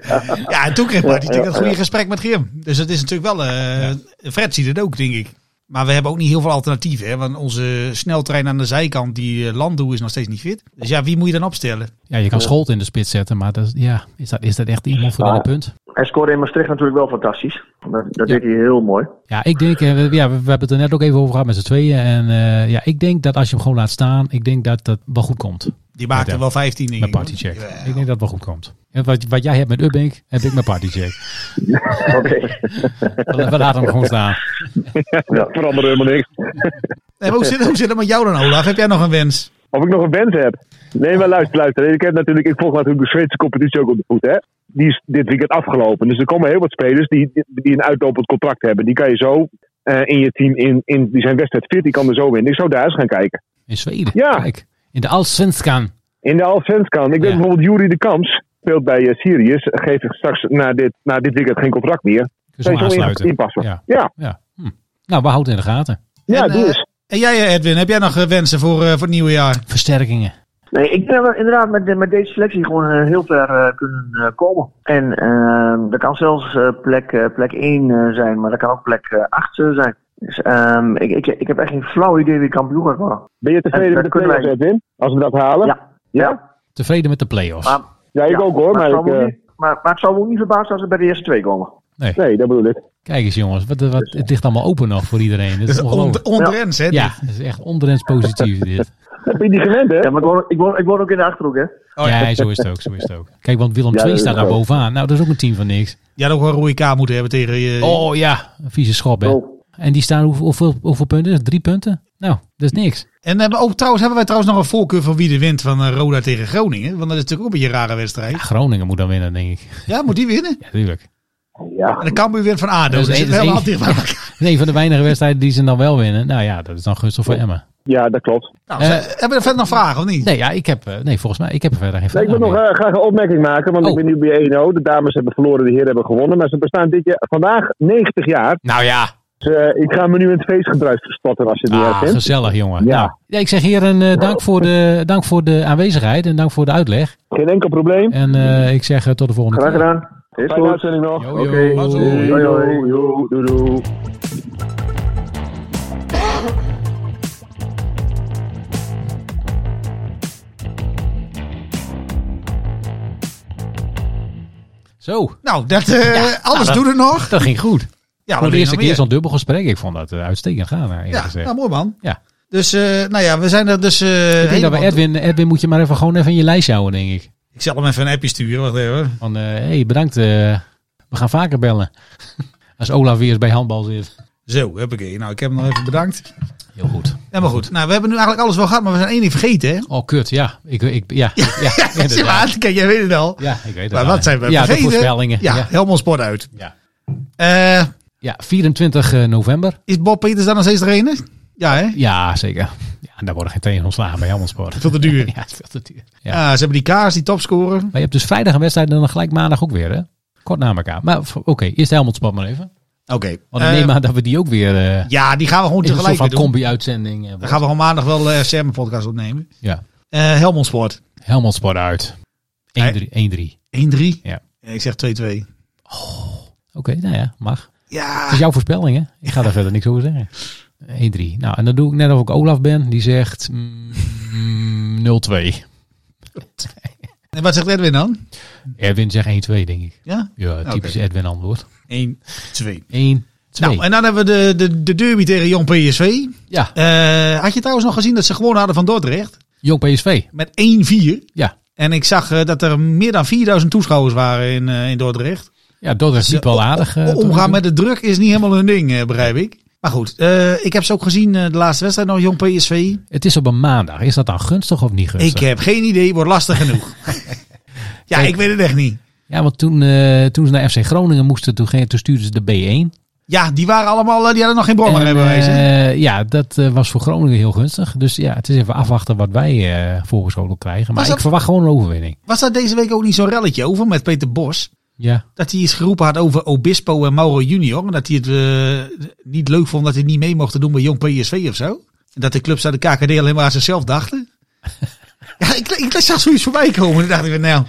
Speaker 6: ja, en toen kreeg Marty natuurlijk
Speaker 10: Ja, ja,
Speaker 6: het goede
Speaker 10: ja.
Speaker 6: gesprek met Grim. Dus het is natuurlijk wel, eh, Fred ziet het ook, denk ik. Maar we hebben ook niet heel veel alternatieven, hè? want onze sneltrein aan de zijkant, die eh, Landoe, is nog steeds niet fit. Dus ja, wie moet je dan opstellen?
Speaker 1: Ja, je kan Scholt in de spits zetten, maar dat, is- ja, is, dat, is dat echt iemand voor
Speaker 10: Ja.
Speaker 1: dat punt?
Speaker 10: Hij scoorde in Maastricht natuurlijk wel fantastisch. Dat, dat
Speaker 1: Ja.
Speaker 10: deed hij heel mooi.
Speaker 1: Ja, ik denk, eh, we- ja, we, we hebben het er net ook even over gehad met z'n tweeën. En eh, ja, ik denk dat als je hem gewoon laat staan, ik denk dat dat wel goed komt.
Speaker 6: Die maakt
Speaker 1: Met hem.
Speaker 6: er wel 15 denk
Speaker 1: Met
Speaker 6: ik, hoor.
Speaker 1: partycheck. Ik
Speaker 6: Jawel.
Speaker 1: denk dat het wel goed komt. En wat, wat jij hebt met Ubbink, heb ik met partycheck.
Speaker 10: Oké.
Speaker 1: We, we laten hem gewoon staan.
Speaker 11: Verander helemaal niks.
Speaker 6: Eh, Nee, maar hoe, zit, hoe zit het met jou dan, Olaf? Heb jij nog een wens?
Speaker 11: Of ik nog een wens heb. Nee, maar luister, luister. Ik, heb natuurlijk, ik volg natuurlijk de Zweedse competitie ook op de voet. Hè? Die is dit weekend afgelopen. Dus er komen heel wat spelers die, die een uitlopend contract hebben. Die kan je zo eh, in je team, in, in, die zijn wedstrijd fit, die kan er zo winnen. Ik zou daar eens gaan kijken.
Speaker 1: In Zweden.
Speaker 11: Ja.
Speaker 1: In de Allsvenskan.
Speaker 11: In de Allsvenskan. Ik weet bijvoorbeeld Jury de Kams speelt bij eh, Sirius. Geeft straks na dit, na dit weekend geen contract meer.
Speaker 1: Dus
Speaker 11: Zou je
Speaker 1: hem
Speaker 11: zo in-
Speaker 1: aansluiten.
Speaker 11: inpassen.
Speaker 1: Ja.
Speaker 11: Ja.
Speaker 1: ja. Hm. Nou, we houden het in de gaten.
Speaker 11: Ja,
Speaker 6: en, eh, en jij eh, Edwin, heb jij nog eh, wensen voor, eh, voor het nieuwe jaar?
Speaker 1: Versterkingen.
Speaker 10: Nee, ik denk dat we inderdaad met, de- met deze selectie gewoon eh, heel ver eh, kunnen eh, komen. En ehm dat kan zelfs eh, plek, eh, plek 1 eh, zijn, maar dat kan ook plek 8 zijn. Dus ehm, ik, ik, ik heb echt geen flauw idee wie kampioen gaat worden.
Speaker 11: Ben je
Speaker 10: En
Speaker 11: tevreden
Speaker 10: dat
Speaker 11: met de
Speaker 10: kunnen
Speaker 11: play-offs,
Speaker 10: wij-
Speaker 11: Edwin? Als we dat halen?
Speaker 10: Ja. Ja?
Speaker 1: Tevreden met de play-offs.
Speaker 10: Maar,
Speaker 11: Ja, ik ook hoor.
Speaker 10: maar,
Speaker 11: Maar
Speaker 10: het zal
Speaker 11: ik,
Speaker 10: me ook
Speaker 11: eh,
Speaker 10: niet- maar, maar het zal me ook niet verbazen als ze bij de eerste twee komen.
Speaker 11: nee, dat bedoel ik.
Speaker 1: Kijk eens jongens, wat, wat, het ligt allemaal open nog voor iedereen. Dat is
Speaker 6: Dus on,
Speaker 1: ongelooflijk.
Speaker 6: onrens, hè?
Speaker 1: Ja, dat is echt onderends positief dit.
Speaker 11: Dat ben je niet gewend, hè?
Speaker 10: Ja, maar ik woon, ik woon, ik woon ook in de Achterhoek, hè.
Speaker 6: Oh, ja.
Speaker 1: ja. zo is het ook, zo is het ook. Kijk, want Willem
Speaker 11: Ja,
Speaker 1: II
Speaker 11: dat is
Speaker 1: staat daar
Speaker 11: ook.
Speaker 1: bovenaan. Nou, dat is ook een team van niks.
Speaker 6: Je had ook wel een rode kaart moeten hebben tegen eh, je.
Speaker 1: Oh ja, een vieze schop hè.
Speaker 10: Oh.
Speaker 1: En die staan hoeveel, hoeveel, hoeveel punten? is het? Drie punten? Nou, dat is niks.
Speaker 6: En hebben, ook, trouwens, hebben wij trouwens nog een voorkeur van wie de wint van eh, Roda tegen Groningen? Want dat is natuurlijk ook een beetje een rare
Speaker 1: Ja,
Speaker 6: wedstrijd.
Speaker 1: Groningen moet dan winnen, denk ik.
Speaker 6: Ja, moet die winnen?
Speaker 1: Ja, tuurlijk.
Speaker 11: Ja.
Speaker 10: Oh.
Speaker 6: En dan kan we weer van ADO.
Speaker 1: Dat is
Speaker 6: Dus
Speaker 1: een-
Speaker 6: het
Speaker 1: dat is
Speaker 6: helemaal
Speaker 1: een-
Speaker 6: dicht bij elkaar.
Speaker 1: Dat is een van de weinige wedstrijden die ze dan wel winnen. Nou ja, dat is dan gunstig voor Emma.
Speaker 11: ja, dat klopt.
Speaker 6: Nou, ze-
Speaker 1: Eh,
Speaker 6: hebben we er verder nog vragen, of niet?
Speaker 1: Nee, ja, ik heb, eh, nee, volgens mij, ik heb er verder geen
Speaker 11: Nee,
Speaker 1: vraag
Speaker 11: ik wil nog eh, graag een opmerking maken, want
Speaker 1: nou, Oh.
Speaker 11: ik ben nu bij 1-0. De dames hebben verloren, de heren hebben gewonnen. Maar ze bestaan dit jaar, vandaag 90 jaar.
Speaker 1: Nou ja,
Speaker 11: Dus eh, ik ga me nu in het feestgebruik verspatten als je die
Speaker 1: ah,
Speaker 11: ah, vindt.
Speaker 1: gezellig jongen.
Speaker 11: Ja.
Speaker 1: Nou, ja, ik zeg hier een eh, dank, voor de, dank voor de aanwezigheid en dank voor de uitleg.
Speaker 11: Geen enkel probleem.
Speaker 1: En eh, ik zeg eh, tot de volgende
Speaker 10: Graag
Speaker 1: keer.
Speaker 10: gedaan. Is
Speaker 11: Fijne
Speaker 10: goed.
Speaker 11: uitzending nog.
Speaker 1: Yo, yo.
Speaker 10: Oké. Doei, doei.
Speaker 11: Doei, doei, doei, doei.
Speaker 1: Zo,
Speaker 6: Nou, dat, eh, alles
Speaker 1: dat-
Speaker 6: doen we nog.
Speaker 1: dat ging goed. voor
Speaker 6: Ja, wat
Speaker 1: de
Speaker 6: wil je
Speaker 1: eerste
Speaker 6: nog
Speaker 1: keer
Speaker 6: meer?
Speaker 1: zo'n dubbel gesprek. Ik vond dat eh, uitstekend gaan, eerlijk
Speaker 6: Ja,
Speaker 1: gezegd.
Speaker 6: nou, mooi man.
Speaker 1: Ja.
Speaker 6: Dus, eh, nou ja, we zijn er dus... eh,
Speaker 1: ik denk dat we
Speaker 6: helemaal-
Speaker 1: Edwin, Edwin moet je maar even gewoon even in je lijstje houden, denk ik.
Speaker 6: Ik zal hem even een appje sturen. Wacht even. hoor.
Speaker 1: Van, eh hey, bedankt. eh, we gaan vaker bellen. Als Olaf weer eens bij handbal zit.
Speaker 6: Zo, heb ik Nou, ik heb hem nog even bedankt.
Speaker 1: Heel goed.
Speaker 6: Ja, maar goed. Nou, we hebben nu eigenlijk alles wel gehad, maar we zijn één ding vergeten, hè?
Speaker 1: Oh, kut, ja. Ik, ik, ja, ja,
Speaker 6: Ja, zie je
Speaker 1: inderdaad.
Speaker 6: maar. Kijk, jij weet het al.
Speaker 1: ja, ik weet het
Speaker 6: Maar
Speaker 1: wel.
Speaker 6: wat zijn we
Speaker 1: Ja, de
Speaker 6: vergeten?
Speaker 1: voorspellingen.
Speaker 6: Ja,
Speaker 1: Ja.
Speaker 6: helemaal sport uit.
Speaker 1: Ja.
Speaker 6: Eh,
Speaker 1: Ja, 24 november.
Speaker 6: is Bob Peters dan nog steeds de ene? Ja, hè?
Speaker 1: Ja, zeker. Ja, daar worden geen tegen ontslagen bij Helmond Sport.
Speaker 6: Veel te duur.
Speaker 1: Ja, het is veel te duur. Ja.
Speaker 6: Ah, ze hebben die Kaas, die topscorer.
Speaker 1: Maar je hebt dus vrijdag een wedstrijd en dan gelijk maandag ook weer, hè? Kort na elkaar. Maar v- oké, eerst Helmond Sport maar even.
Speaker 6: Oké.
Speaker 1: Want ik
Speaker 6: Eh,
Speaker 1: neem aan dat we die ook weer eh
Speaker 6: ja, die gaan we gewoon
Speaker 1: in een
Speaker 6: tegelijk
Speaker 1: soort
Speaker 6: weer
Speaker 1: van
Speaker 6: doen.
Speaker 1: combi-uitzending hebben.
Speaker 6: Dan gaan we gewoon maandag wel eh Sam een podcast opnemen.
Speaker 1: Ja.
Speaker 6: Eh Helmond Sport. 1-3.
Speaker 1: Helmond Sport uit. 1-3. 1-3. Ja.
Speaker 6: En Eh, ik zeg 2-2.
Speaker 1: Oké, nou ja, mag.
Speaker 6: Ja.
Speaker 1: Het is jouw voorspelling, hè? Ik ga daar verder niks over zeggen. 1-3. Nou, en dan doe ik net of ik Olaf ben. Die zegt mm, 0-2.
Speaker 6: En wat zegt Edwin dan?
Speaker 1: Edwin zegt 1-2, denk ik.
Speaker 6: Ja?
Speaker 1: Ja, typisch Edwin antwoord.
Speaker 6: 1-2.
Speaker 1: 1, 2.
Speaker 6: Nou, en dan hebben we de, de, de derby tegen Jong PSV.
Speaker 1: ja,
Speaker 6: Eh, had je trouwens nog gezien dat ze gewonnen hadden van Dordrecht?
Speaker 1: jong PSV.
Speaker 6: Met 1-4.
Speaker 1: Ja,
Speaker 6: En ik zag eh, dat er meer dan 4000 toeschouwers waren in, eh, in Dordrecht.
Speaker 1: ja Dordrecht liep wel aardig. eh, tot nu toe.
Speaker 6: Omgaan met de druk is niet helemaal hun ding, eh, begrijp ik. Maar goed, eh, ik heb ze ook gezien, eh, de laatste wedstrijd nog, Jong PSV.
Speaker 1: Het is op een maandag. Is dat dan gunstig of niet gunstig?
Speaker 6: Ik eh, heb geen idee, wordt lastig genoeg. ja,
Speaker 1: Kijk.
Speaker 6: ik weet het echt niet.
Speaker 1: Ja, want toen, eh, toen ze naar FC Groningen moesten, toen, gingen- toen stuurden ze de B1.
Speaker 6: Ja, die waren allemaal, eh, die hadden nog geen
Speaker 1: En,
Speaker 6: brommerrijbewijs. hè?
Speaker 1: eh, ja, dat eh, was voor Groningen heel gunstig. Dus ja, het is even afwachten wat wij eh voorgeschoten krijgen. Maar
Speaker 6: Was dat-
Speaker 1: ik verwacht gewoon een overwinning.
Speaker 6: Was daar deze week ook niet zo'n relletje over met Peter Bos?
Speaker 1: Ja.
Speaker 6: Dat hij iets geroepen had over Obispo en Mauro Junior. En dat hij het eh, niet leuk vond dat hij niet mee mocht doen bij Jong PSV of zo. En dat de clubs uit de KKD alleen maar aan zichzelf dachten. ja, ik, ik zag zoiets voorbij komen. En dacht ik, nou,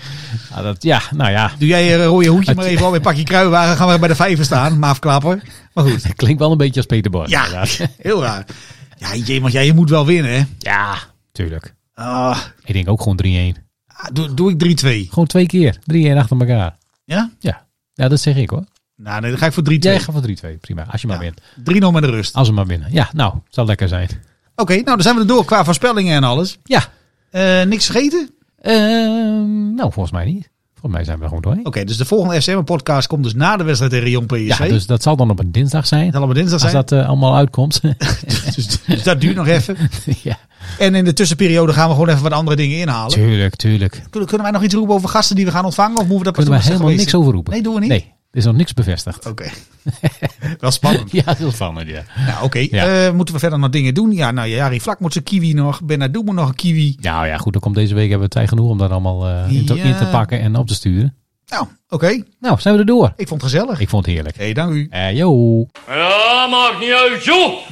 Speaker 1: Ja, dat, ja, nou ja.
Speaker 6: doe jij je rode hoedje maar
Speaker 1: Het-
Speaker 6: even op en pak je kruiwagen. Gaan we bij de vijver staan, Maaf Klapper. Maar goed,
Speaker 1: Dat klinkt wel een beetje als Peter Bos.
Speaker 6: ja,
Speaker 1: inderdaad.
Speaker 6: heel raar. Ja, jee, want jij je moet wel winnen, hè.
Speaker 1: ja, tuurlijk.
Speaker 6: Ah,
Speaker 1: Ik denk ook gewoon 3-1.
Speaker 6: doe, doe ik 3-2.
Speaker 1: Gewoon twee keer. 3-1 achter elkaar.
Speaker 6: Ja?
Speaker 1: Ja. ja, dat zeg ik hoor.
Speaker 6: Nou, nee, dan ga ik voor 3-2. 3-0
Speaker 1: Jij gaat voor 3-2. Prima. Als je maar
Speaker 6: Ja.
Speaker 1: wint.
Speaker 6: met de rust. Oké,
Speaker 1: Als we maar winnen. Ja, nou, het zal lekker zijn.
Speaker 6: nou, dan zijn we er door qua voorspellingen en alles.
Speaker 1: Ja.
Speaker 6: Eh, niks vergeten?
Speaker 1: Ehm, nou, volgens mij niet. Volgens mij zijn we er gewoon doorheen.
Speaker 6: Oké, dus de volgende FCM-podcast komt dus na de wedstrijd tegen Jong PSV.
Speaker 1: Ja, dus dat zal dan op een dinsdag zijn.
Speaker 6: Dat zal op dinsdag
Speaker 1: Als
Speaker 6: zijn.
Speaker 1: dat eh, allemaal uitkomt.
Speaker 6: dus, dus dat duurt nog even.
Speaker 1: ja.
Speaker 6: En in de tussenperiode gaan we gewoon even wat andere dingen inhalen.
Speaker 1: Tuurlijk, tuurlijk.
Speaker 6: Kunnen kunnen wij nog iets roepen over gasten die we gaan ontvangen? Of moeten we dat pas
Speaker 1: Kunnen
Speaker 6: doen
Speaker 1: we
Speaker 6: als ze
Speaker 1: helemaal
Speaker 6: geweest
Speaker 1: niks
Speaker 6: zijn?
Speaker 1: over roepen.
Speaker 6: Nee, doen we niet.
Speaker 1: Nee, er is nog niks bevestigd.
Speaker 6: Oké. Wel spannend.
Speaker 1: Ja, heel spannend, ja.
Speaker 6: Nou, oké.
Speaker 1: Ja.
Speaker 6: Eh, moeten we verder nog dingen doen? Ja, nou, Jari Vlak moet zijn kiwi nog. Benadou moet nog een kiwi.
Speaker 1: Nou ja, goed, dan komt deze week hebben we tijd genoeg om dat allemaal eh, in, te,
Speaker 6: Ja.
Speaker 1: in te pakken en op te sturen.
Speaker 6: Nou, oké.
Speaker 1: Nou, zijn we er door.
Speaker 6: Ik vond het gezellig.
Speaker 1: Ik vond het heerlijk.
Speaker 6: hey, dank u.
Speaker 1: Eh, yo.
Speaker 5: Ja, maakt niet uit, joh!